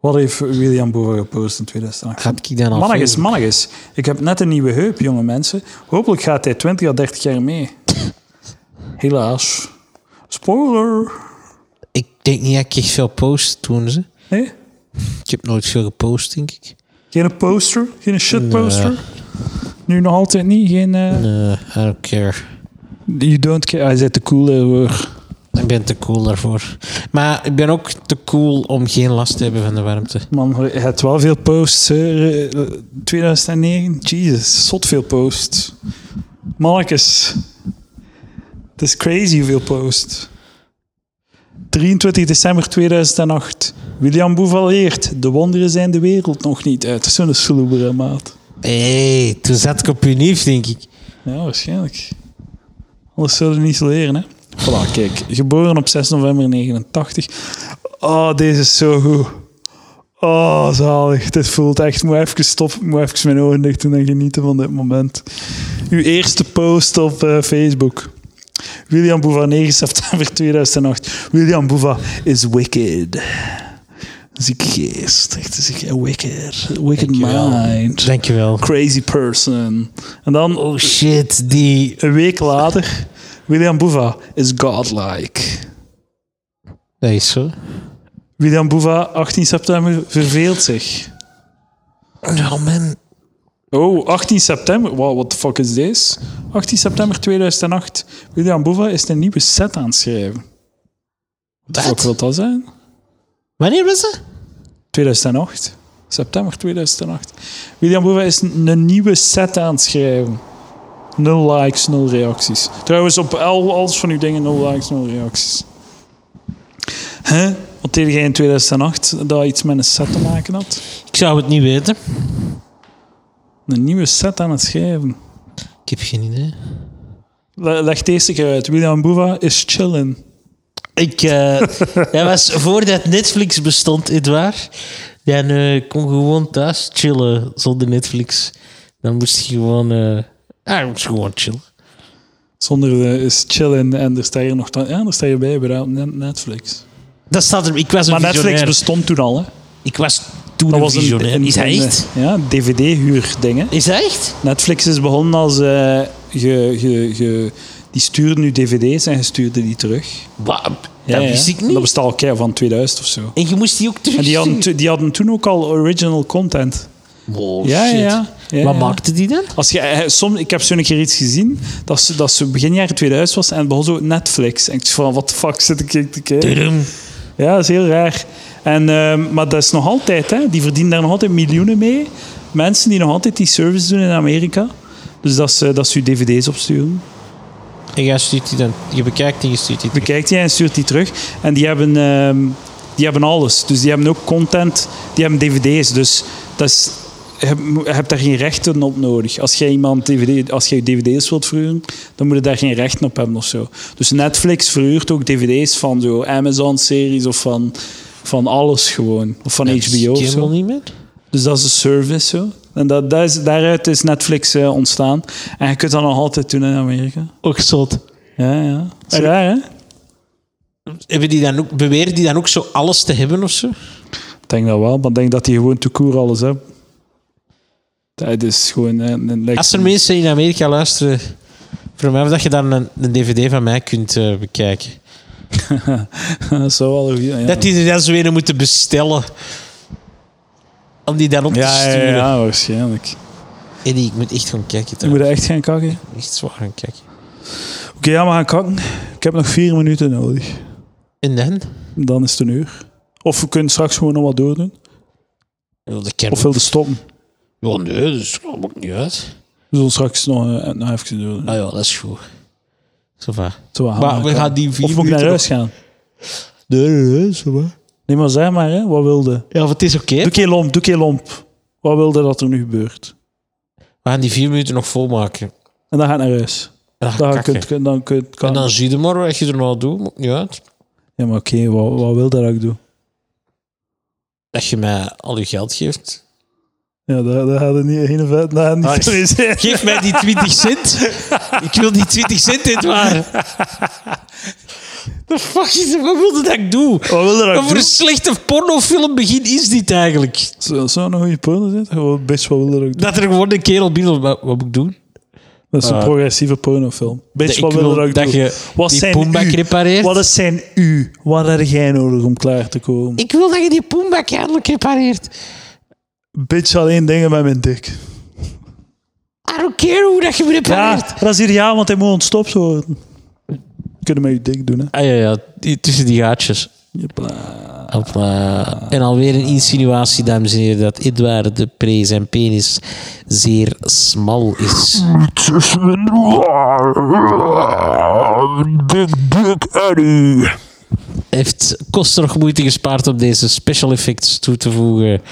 S2: Wat heeft William Boer gepost in 2008?
S3: Gaat ik dan al
S2: Mannetjes,
S3: veel-
S2: mannetjes. Ik heb net een nieuwe heup, jonge mensen. Hopelijk gaat hij 20 à 30 jaar mee. Helaas. Spoiler.
S3: Ik denk niet dat ik echt veel post toen ze.
S2: Nee?
S3: Ik heb nooit veel gepost, denk ik.
S2: Geen poster? Geen shitposter? Nu nog altijd niet? Geen... eh,
S3: Nee, I don't care.
S2: You don't care. Hij zit te cool daarvoor.
S3: Ik ben te cool daarvoor. Maar ik ben ook te cool om geen last te hebben van de warmte.
S2: Man, je hebt wel veel posts. hè. Eh, 2009? Jesus, zot veel posts. Mannetjes. Het is crazy hoeveel posts. 23 december 2008. William Boeval leert. De wonderen zijn de wereld nog niet uit. Zo'n sloebere maat.
S3: Hé, hey, toen zat ik op je nieuws, denk ik.
S2: Ja, waarschijnlijk. Anders zullen we niet leren, hè? Voilà, kijk. Geboren op 6 november 89. Oh, deze is zo goed. Oh, zalig. Dit voelt echt... Moet even stoppen. Moet even mijn ogen dicht doen en genieten van dit moment. Uw eerste post op eh, Facebook. William Boeva, 9 september 2008. William Boeva is wicked. Ziek geest. Echt ziek. Wicked. Wicked
S3: Dankjewel.
S2: mind.
S3: Dankjewel.
S2: Crazy person. En dan...
S3: Oh shit, die...
S2: Een week later, William Boeva is godlike.
S3: Dat is zo.
S2: William Boeva, 18 september, verveelt zich.
S3: Nou man,
S2: Oh, 18 september? Wow, what the fuck is this? 18 september 2008. William Boeva is een nieuwe set aan het schrijven. Wat
S3: Wat?
S2: fuck wil dat zijn?
S3: wanneer was dat?
S2: 2008. September 2008. William Boeva is een een nieuwe set aan het schrijven. Nul likes, nul reacties. Trouwens, op al, alles van uw dingen nul likes, nul reacties. Hè? Wat deed jij in 2008 dat iets met een set te maken had?
S3: Ik zou het niet weten.
S2: Een nieuwe set aan het schrijven.
S3: Ik heb geen idee.
S2: Le- Leg deze keer uit. William Boeva is chillen.
S3: Ik, eh, <laughs> dat was voordat Netflix bestond, Edouard. Dan eh kon je gewoon thuis chillen zonder Netflix. Dan moest je gewoon... eh ja, je moest gewoon chillen.
S2: Zonder de is chillen en er sta je nog dan, ja, er sta je bij bij dat net- Netflix.
S3: Dat staat er... Ik was een
S2: Maar Netflix
S3: visionair.
S2: bestond toen al, hè?
S3: Ik was toen een visionair. is hij echt?
S2: eh, ja, DVD-huurdingen.
S3: Is hij echt?
S2: Netflix is begonnen als eh, je, je, je, die stuurde nu DVD's en je stuurde die terug.
S3: Wauw,
S2: Ja,
S3: dat
S2: ja.
S3: wist ik
S2: Dat
S3: niet.
S2: bestaat al kei van 2000 of zo.
S3: En je moest die ook terug
S2: En die hadden, to- die hadden toen ook al original content.
S3: Wow,
S2: Ja, ja,
S3: shit.
S2: ja. Ja,
S3: Wat
S2: ja.
S3: maakte die dan?
S2: Als je, eh, som, ik heb zo een keer iets gezien dat ze, dat ze begin jaren 2000 was en het begon zo Netflix. En ik dacht van, wat de fuck zit ik hier te kijken?
S3: Durum.
S2: Ja, dat is heel raar. En, ehm, maar dat is nog altijd, hè. die verdienen daar nog altijd miljoenen mee. Mensen die nog altijd die service doen in Amerika. Dus dat ze, dat ze je dvd's opsturen.
S3: En jij stuurt die dan... Je bekijkt en je stuurt die terug.
S2: Bekijkt die en stuurt die terug. En die hebben, ehm, die hebben alles. Dus die hebben ook content. Die hebben dvd's. Dus dat is, je, hebt- je hebt daar geen rechten op nodig. Als jij iemand DVD, als jij dvd's wilt verhuren, dan moet je daar geen rechten op hebben of zo. Dus Netflix verhuurt ook dvd's van zo Amazon-series of van, van alles gewoon. Of van
S3: Dat zie
S2: HBO
S3: ik
S2: of zo.
S3: helemaal dus niet meer.
S2: Dus dat is een service zo. En dat, dat is, daaruit is Netflix eh, ontstaan. En je kunt dat nog altijd doen in Amerika.
S3: Ook zot.
S2: Ja, ja. Dat is raar, hè?
S3: Hebben die dan ook, beweren die dan ook zo alles te hebben of zo?
S2: Ik denk dat wel, maar ik denk dat die gewoon te koer alles hebben. Dat is gewoon... eh, Een, een,
S3: Als er mensen in Amerika luisteren, voor mij of dat je dan een, een dvd van mij kunt eh, bekijken.
S2: dat zou wel... een goeie- Ja,
S3: Dat die er dan zo een moeten bestellen. Om die dan op te
S2: ja, ja,
S3: sturen.
S2: ja, ja, waarschijnlijk.
S3: Eddie, ik moet echt gaan kijken.
S2: Je
S3: trouwens.
S2: moet er echt gaan kakken. Oké,
S3: Ik moet echt zwaar gaan kijken.
S2: ja, we gaan kakken. Ik heb nog vier minuten nodig.
S3: En dan?
S2: Dan is het een uur. Of we kunnen straks gewoon nog wat doordoen.
S3: Ja, dat kan
S2: Of wil je stoppen?
S3: ook. dus Ja, nee, dat is- dat maakt niet uit.
S2: We zullen straks nog, eh, nog even doordoen.
S3: Ah ja, dat is goed. Zo va.
S2: Zo, we gaan
S3: Maar we
S2: kakken.
S3: gaan die vier
S2: Of moet ik naar
S3: minuten
S2: huis gaan?
S3: nog- Nee, nee, nee, zo va.
S2: Nee, maar zeg maar, hè, wat wilde?
S3: Ja, want het is oké.
S2: Doe keer lomp, doe keer lomp. Wat wilde dat er nu gebeurt?
S3: We gaan die vier minuten nog volmaken.
S2: En dan gaat naar huis.
S3: En dan,
S2: Dan
S3: kakken.
S2: kunt, kun- dan kunt, kan.
S3: en dan zie je maar wat je er nou doet. Maakt niet uit.
S2: Ja, maar oké, wat, wat wil dat ik doe?
S3: dat je mij al je geld geeft.
S2: Ja, dat, dat gaat er niet geen vet naar. Niet
S3: Ah,
S2: zo zijn.
S3: Geef mij die 20 cent. <laughs> Ik wil die 20 cent, dit <laughs> waar. The fuck is dat? Wat wilde dat ik doe?
S2: Wat wil dat
S3: <laughs> Wat
S2: ik
S3: voor
S2: doen?
S3: een slechte pornofilm begin is dit eigenlijk?
S2: Zou zou nog een goede porno zijn? Gewoon best wat wil dat ik doen?
S3: Dat er gewoon een kerel binnen... Wat, wat moet ik doen?
S2: Dat is een
S3: Ah.
S2: progressieve pornofilm. Best
S3: Dat
S2: wat
S3: ik
S2: wil dat
S3: wil
S2: ik
S3: dat
S2: doen?
S3: je
S2: Wat
S3: die
S2: zijn
S3: poembak
S2: u?
S3: repareert.
S2: Wat is zijn u? Wat heb jij nodig om klaar te komen?
S3: Ik wil dat je die poembak eindelijk repareert.
S2: Bitch, alleen dingen met mijn dik.
S3: I don't care hoe dat je hem
S2: Ja,
S3: repareert.
S2: dat is ideaal, want hij moet ontstopt worden. Kunnen met je dik doen, hè?
S3: Ah ja, ja. Die- tussen die gaatjes.
S2: Jepla.
S3: Hopla. En alweer een insinuatie, dames en heren, dat Edouard de Pre zijn penis zeer smal is. Heeft kosten nog moeite gespaard om deze special effects toe te voegen.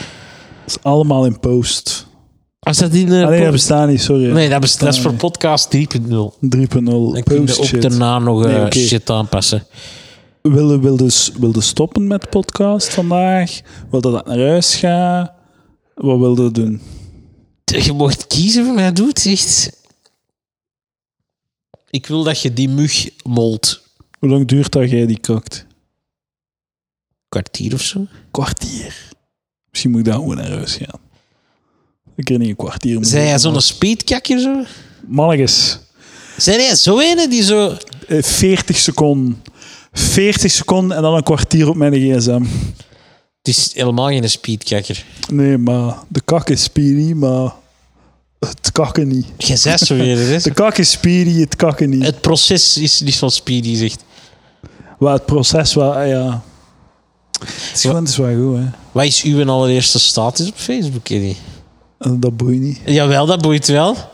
S2: Dat is allemaal in post.
S3: Als dat in eh,
S2: Alleen
S3: po-
S2: dat bestaat niet, sorry.
S3: nee, dat, best- dat is voor podcast 3.0. Dan
S2: 3.0
S3: kun je
S2: post
S3: ook
S2: shit.
S3: daarna nog eh,
S2: Nee, oké.
S3: shit aanpassen.
S2: Wilde, wilde, wilde dus, stoppen met de podcast vandaag? Wilde dat naar huis gaan? Wat wilde doen?
S3: Je mocht kiezen wat mij doet, echt. Ik wil dat je die mug molt.
S2: Hoe lang duurt dat jij die kakt?
S3: Kwartier of zo.
S2: Kwartier. Misschien moet ik daar gewoon naar huis gaan. Ik ken niet een kwartier. moeten
S3: Zijn jij
S2: doen.
S3: zo'n speedkakker zo?
S2: Mannetjes.
S3: Zijn jij zo ene die zo...
S2: eh, 40 seconden. 40 seconden en dan een kwartier op mijn gsm.
S3: Het is helemaal geen speedkakker.
S2: Nee, maar de kak is speedy, maar het kakken niet.
S3: Jij zei zo weer, <laughs> hè?
S2: De kak is speedy, het kakken niet.
S3: Het proces is niet van speedy, zegt.
S2: Waar het proces wel, ah ja. Het is, gewoon, het is wel goed, hè.
S3: Wat is uw allereerste status op Facebook, Eddie?
S2: En Dat boeit niet.
S3: Jawel, dat boeit wel.
S2: Het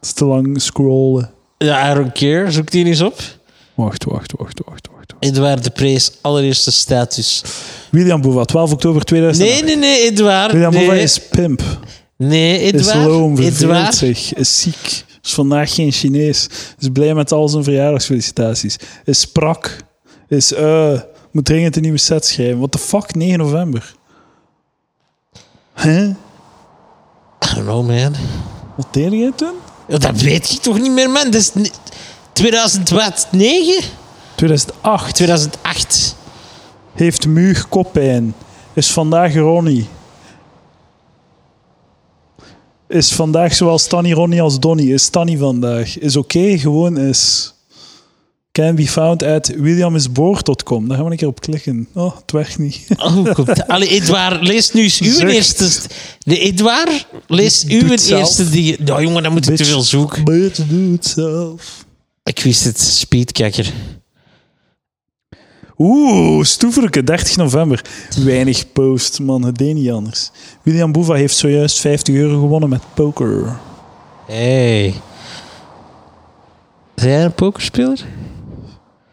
S2: is te lang scrollen.
S3: Ja, I don't care. Zoek die eens op.
S2: Wacht, wacht, wacht, wacht, wacht. wacht.
S3: Edouard de Prees, allereerste status.
S2: William Boeva, 12 oktober 2000.
S3: Nee, nee, nee, Edouard.
S2: William Boeva
S3: Nee,
S2: is pimp.
S3: nee
S2: Is loom,
S3: Edouard.
S2: verveelt
S3: Edouard.
S2: zich, is ziek. Is vandaag geen Chinees. Is blij met al zijn verjaardagsfelicitaties. Is sprak. Is eh, moet dringend een nieuwe set schrijven. What the fuck, 9 november. Hè?
S3: I don't know, man.
S2: Wat deed jij toen?
S3: Ja, Dat weet ik toch niet meer, man. Dat is ni- 2000 wat? 9?
S2: 2008.
S3: 2008.
S2: Heeft muug koppijn. Is vandaag Ronnie. Is vandaag zowel Stanny Ronnie als Donnie. Is Stanny vandaag. Is oké, gewoon is. Can be found at williamisboor.com. Daar gaan we een keer op klikken. Oh, het werkt niet.
S3: Oh, komt. Allee, Edouard, lees nu eens uw
S2: Zucht.
S3: eerste... st- De Edouard, lees
S2: Doe
S3: uw
S2: het zelf.
S3: eerste... Die... Nou, jongen, dan moet ik te
S2: Bitch.
S3: veel zoeken.
S2: But do it zelf.
S3: Ik wist het, speedkikker.
S2: Oeh, stoeverke, 30 november. Weinig post, man. Het deed niet anders. William Boeva heeft zojuist 50 euro gewonnen met poker.
S3: Hey. Zijn jij een pokerspeler?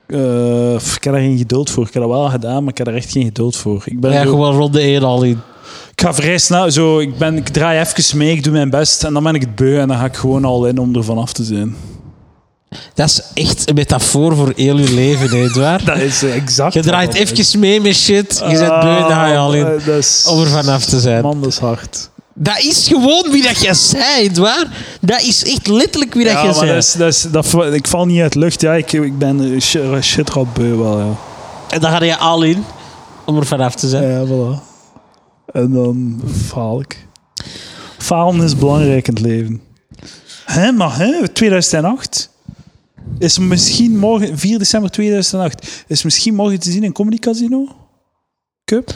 S2: Eh, pff, ik heb daar geen geduld voor. Ik heb dat wel gedaan, maar ik heb er echt geen geduld voor. Ik, ben
S3: Ja,
S2: zo-
S3: gewoon rond de 1 al in.
S2: ik ga vrij snel, zo, ik, ben, ik draai even mee, ik doe mijn best en dan ben ik het beu en dan ga ik gewoon al in om er vanaf te zijn.
S3: Dat is echt een metafoor voor heel je leven, hè, Edouard.
S2: <laughs> <laughs> Dat is eh, exact.
S3: Je draait
S2: wat ik-
S3: even mee met shit, je zet beu en dan ga je al in.
S2: Ah, dat is-
S3: Om er vanaf te zijn.
S2: Man, dat is hard.
S3: Dat is gewoon wie dat jij zei, Edouard. Dat is echt letterlijk wie dat
S2: Ja,
S3: jij
S2: maar
S3: zei.
S2: dat is, dat is, dat, va- ik val niet uit lucht. Ja, ik, ik ben eh, shit, shit rot beu wel, ja.
S3: En dan ga je al in om er vanaf te zijn.
S2: Ja, voilà. En dan faal ik. Falen is belangrijk in het leven. Hè, maar hè, 2008 is misschien morgen, 4 december 2008, is misschien morgen te zien in Comedy Casino? Cup?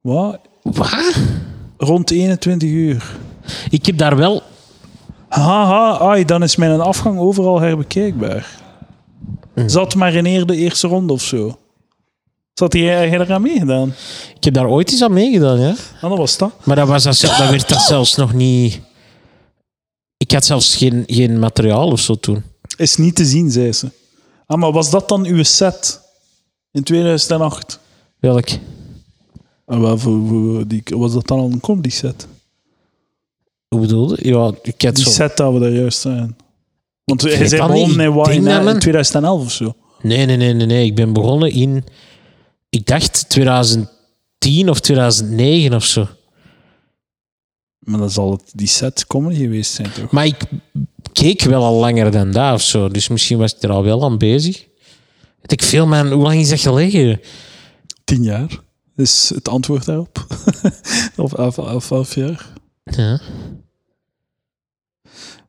S2: Wat?
S3: Eh, Wat?
S2: Rond 21 uur.
S3: Ik heb daar wel...
S2: Haha, ai, dan is mijn afgang overal herbekijkbaar. Zat maar in eer de eerste ronde of zo. Zat hij jij eraan meegedaan?
S3: Ik heb daar ooit eens aan meegedaan, ja.
S2: En dat was dat.
S3: Maar dat, was dat, zelf- dat werd dat zelfs nog niet... Ik had zelfs geen, geen materiaal of zo toen.
S2: Is niet te zien, zei ze. Ah, maar was dat dan uw set in 2008?
S3: Welk?
S2: En wel, voor- voor die, was dat dan al een comedy set?
S3: Hoe bedoelde? Ja, ik had
S2: Die
S3: zo...
S2: set dat we daar juist zijn. Want hij
S3: weet
S2: zei
S3: dat
S2: begonnen
S3: niet.
S2: in,
S3: Ik denk
S2: in,
S3: dat men-
S2: in 2011 of zo.
S3: Nee, nee, nee, nee, nee. Ik ben begonnen in... Ik dacht 2010 of 2009 of zo.
S2: Maar dan zal het die set comedy geweest zijn, toch?
S3: Maar ik keek wel al langer dan dat of zo. Dus misschien was ik er al wel aan bezig. Weet ik veel, man. Hoe lang is dat gelegen?
S2: Tien jaar is het antwoord daarop. <laughs> of elf, elf, elf jaar.
S3: Ja.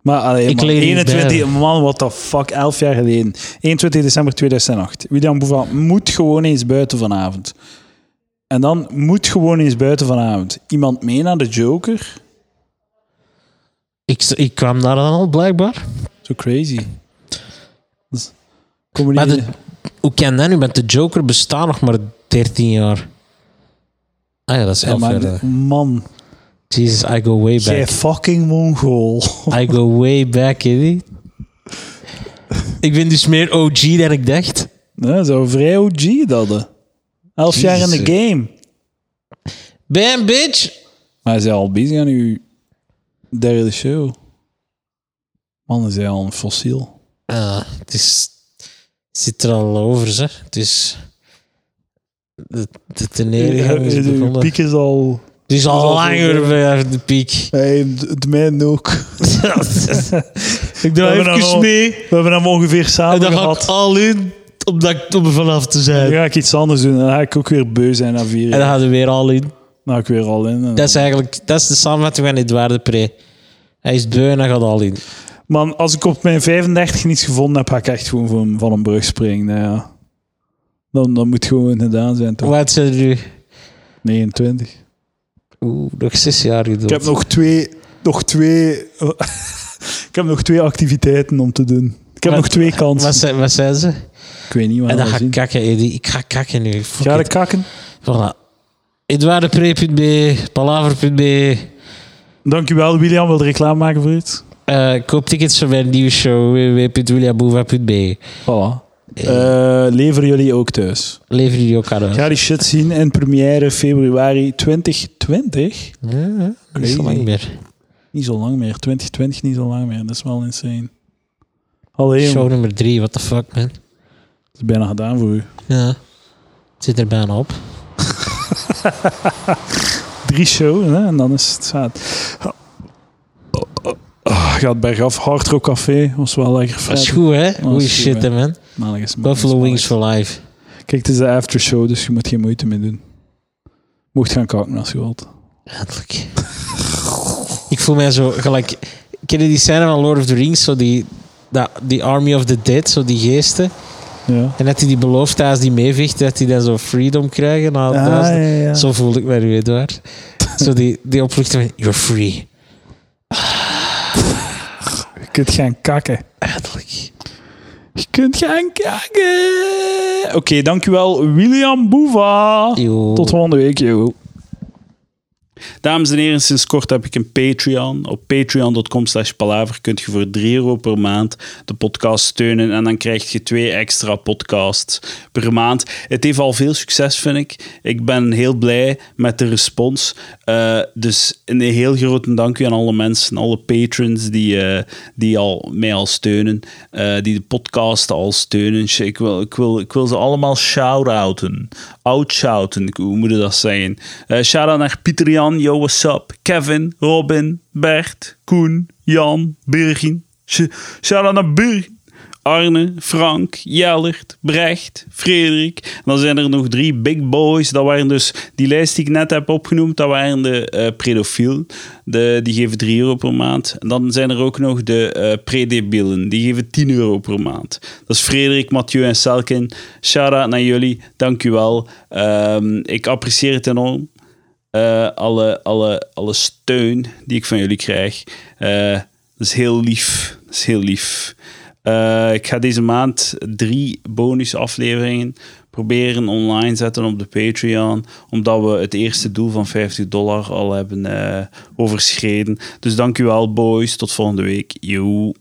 S2: Maar alleen
S3: Ik
S2: maar
S3: leer niet
S2: 21,
S3: bij.
S2: man, what the fuck, 11 jaar geleden. 21 december 2008. William Boeva moet gewoon eens buiten vanavond. En dan moet gewoon eens buiten vanavond. Iemand mee naar de Joker?
S3: Ik, ik kwam daar dan al, blijkbaar.
S2: Zo crazy. Dus, Dat is- Kom
S3: Maar
S2: maar
S3: de, hoe kan dat nu? Want de Joker bestaat nog maar 13 jaar. Ah ja, dat is 11 jaar.
S2: man,
S3: geleden.
S2: man,
S3: Jesus, I go way
S2: jij
S3: back.
S2: fucking Mongool. <laughs>
S3: I go way back, hè? Ik ben dus meer OG dan ik dacht.
S2: Nee, Zo vrij OG dat. hè. Elf jaar in de
S3: Jezus.
S2: game.
S3: Bam, bitch!
S2: Maar hij is al bezig aan uw derde show. Man, is hij al een fossiel.
S3: Ah, het is... het zit er al over, zeg. Het is... De, de tenering is
S2: De
S3: begonnen.
S2: Eh, piek Oh, is al.
S3: Het is
S2: al
S3: al langer
S2: voorbij.
S3: bij de
S2: <laughs>
S3: piek.
S2: Hey, het mijn ook.
S3: ik
S2: We
S3: draai
S2: hebben
S3: even
S2: hem al-
S3: mee
S2: We hebben hem ongeveer
S3: en
S2: samen
S3: dan ga ik
S2: gehad.
S3: al in om, dat, om er vanaf te zijn.
S2: Dan ga ik iets anders doen. Dan ga ik ook weer beu zijn na vier
S3: En
S2: jaar.
S3: dan gaan we weer al in.
S2: Dan ga ik weer al in. En-
S3: Dat is eigenlijk dat is de samenvatting van Edouard de Pre. Hij is beu en hij gaat al in.
S2: Man, als ik op mijn 35 niets gevonden heb, ga ik echt gewoon van, van een brug springen. Nou ja. Dan, dan moet gewoon gedaan zijn, toch?
S3: Wat zijn er nu?
S2: 29.
S3: Oeh, nog zes jaar geduld.
S2: Ik heb nog twee. Nog twee <laughs> ik heb nog twee activiteiten om te doen. Ik heb
S3: Wat-
S2: nog twee kansen.
S3: Wat zijn, wat zijn ze?
S2: ik weet niet, maar
S3: en dan
S2: dan
S3: ga ik
S2: zien.
S3: kakken, Eddie. Ik ga kakken nu. Fuck
S2: Ga
S3: it.
S2: ik kakken?
S3: Voilà. Edouardepre.be, palaver.be.
S2: Dankjewel, William. Wil je reclame maken voor iets?
S3: Eh, koop tickets voor mijn nieuwe show www.williamboeva.be.
S2: Voilà. Eh, leveren jullie ook thuis.
S3: Leveren jullie elkaar uit?
S2: Ga die shit zien in première februari 2020.
S3: Ja, ja. Niet zo lang meer.
S2: Niet zo lang meer. 2020 niet zo lang meer. Dat is wel insane. Alleen,
S3: Show
S2: het
S3: nummer drie, what the fuck, man.
S2: is bijna gedaan voor u.
S3: Ja. Het zit er bijna op.
S2: Drie shows hè, en dan is het zaad. Ah, Gaat bergaf. Hard Rock Café was wel lekker
S3: Dat is
S2: vet.
S3: goed, hè?
S2: dat
S3: Goeie
S2: is goed,
S3: shit,
S2: hè.
S3: hè, man.
S2: Malig is malig,
S3: Buffalo
S2: is malig.
S3: Wings for Life.
S2: Kijk, het is de aftershow, dus je moet geen moeite mee doen. Mocht gaan kakken als je wilt.
S3: Eindelijk. ik voel mij zo gelijk. Ken je die scène van Lord of the Rings? Zo die, dat- die Army of the Dead, zo die geesten.
S2: Ja.
S3: En dat hij die belooft als die meevecht, dat die dan zo freedom krijgen. na duizend- Zo voelde ik mij nu, Edouard. zo die, die opluchting van, you're free.
S2: Je kunt gaan kakken.
S3: Eindelijk.
S2: Je kunt gaan kakken. Oké, dankjewel William Boeva.
S3: Yo.
S2: Tot volgende week, joh.
S1: Dames en heren, sinds kort heb ik een Patreon. Op patreon.com slash palaver kunt je voor 3 euro per maand de podcast steunen. En dan krijg je twee extra podcasts per maand. Het heeft al veel succes, vind ik. Ik ben heel blij met de respons. Eh, dus een heel grote dank u aan alle mensen, alle patrons die, eh, die al, mij al steunen. eh, die de podcast al steunen. Sh- Ik wil, ik wil, ik wil ze allemaal shout-outen. Out-shouten, ik- hoe moet je dat zeggen? Eh shout-out naar Pieter Jan, yo, what's up? Kevin, Robin, Bert, Koen, Jan, Birgin. Sh- Shout-out naar Birgin. Arne, Frank, Jellert, Brecht, Frederik. En dan zijn er nog drie big boys. Dat waren dus die lijst die ik net heb opgenoemd. Dat waren de eh predofiel. De, die geven 3 euro per maand. En dan zijn er ook nog de eh predebielen. Die geven 10 euro per maand. Dat is Frederik, Mathieu en Selkin. Shout-out naar jullie. Dank u wel. Ehm, ik apprecieer het enorm. Eh, alle, alle, alle steun die ik van jullie krijg. Eh, dat is heel lief. Dat is heel lief. Eh, ik ga deze maand drie bonusafleveringen proberen online zetten op de Patreon. Omdat we het eerste doel van 50 dollar al hebben eh, overschreden. Dus dank u wel, boys. Tot volgende week. Yo.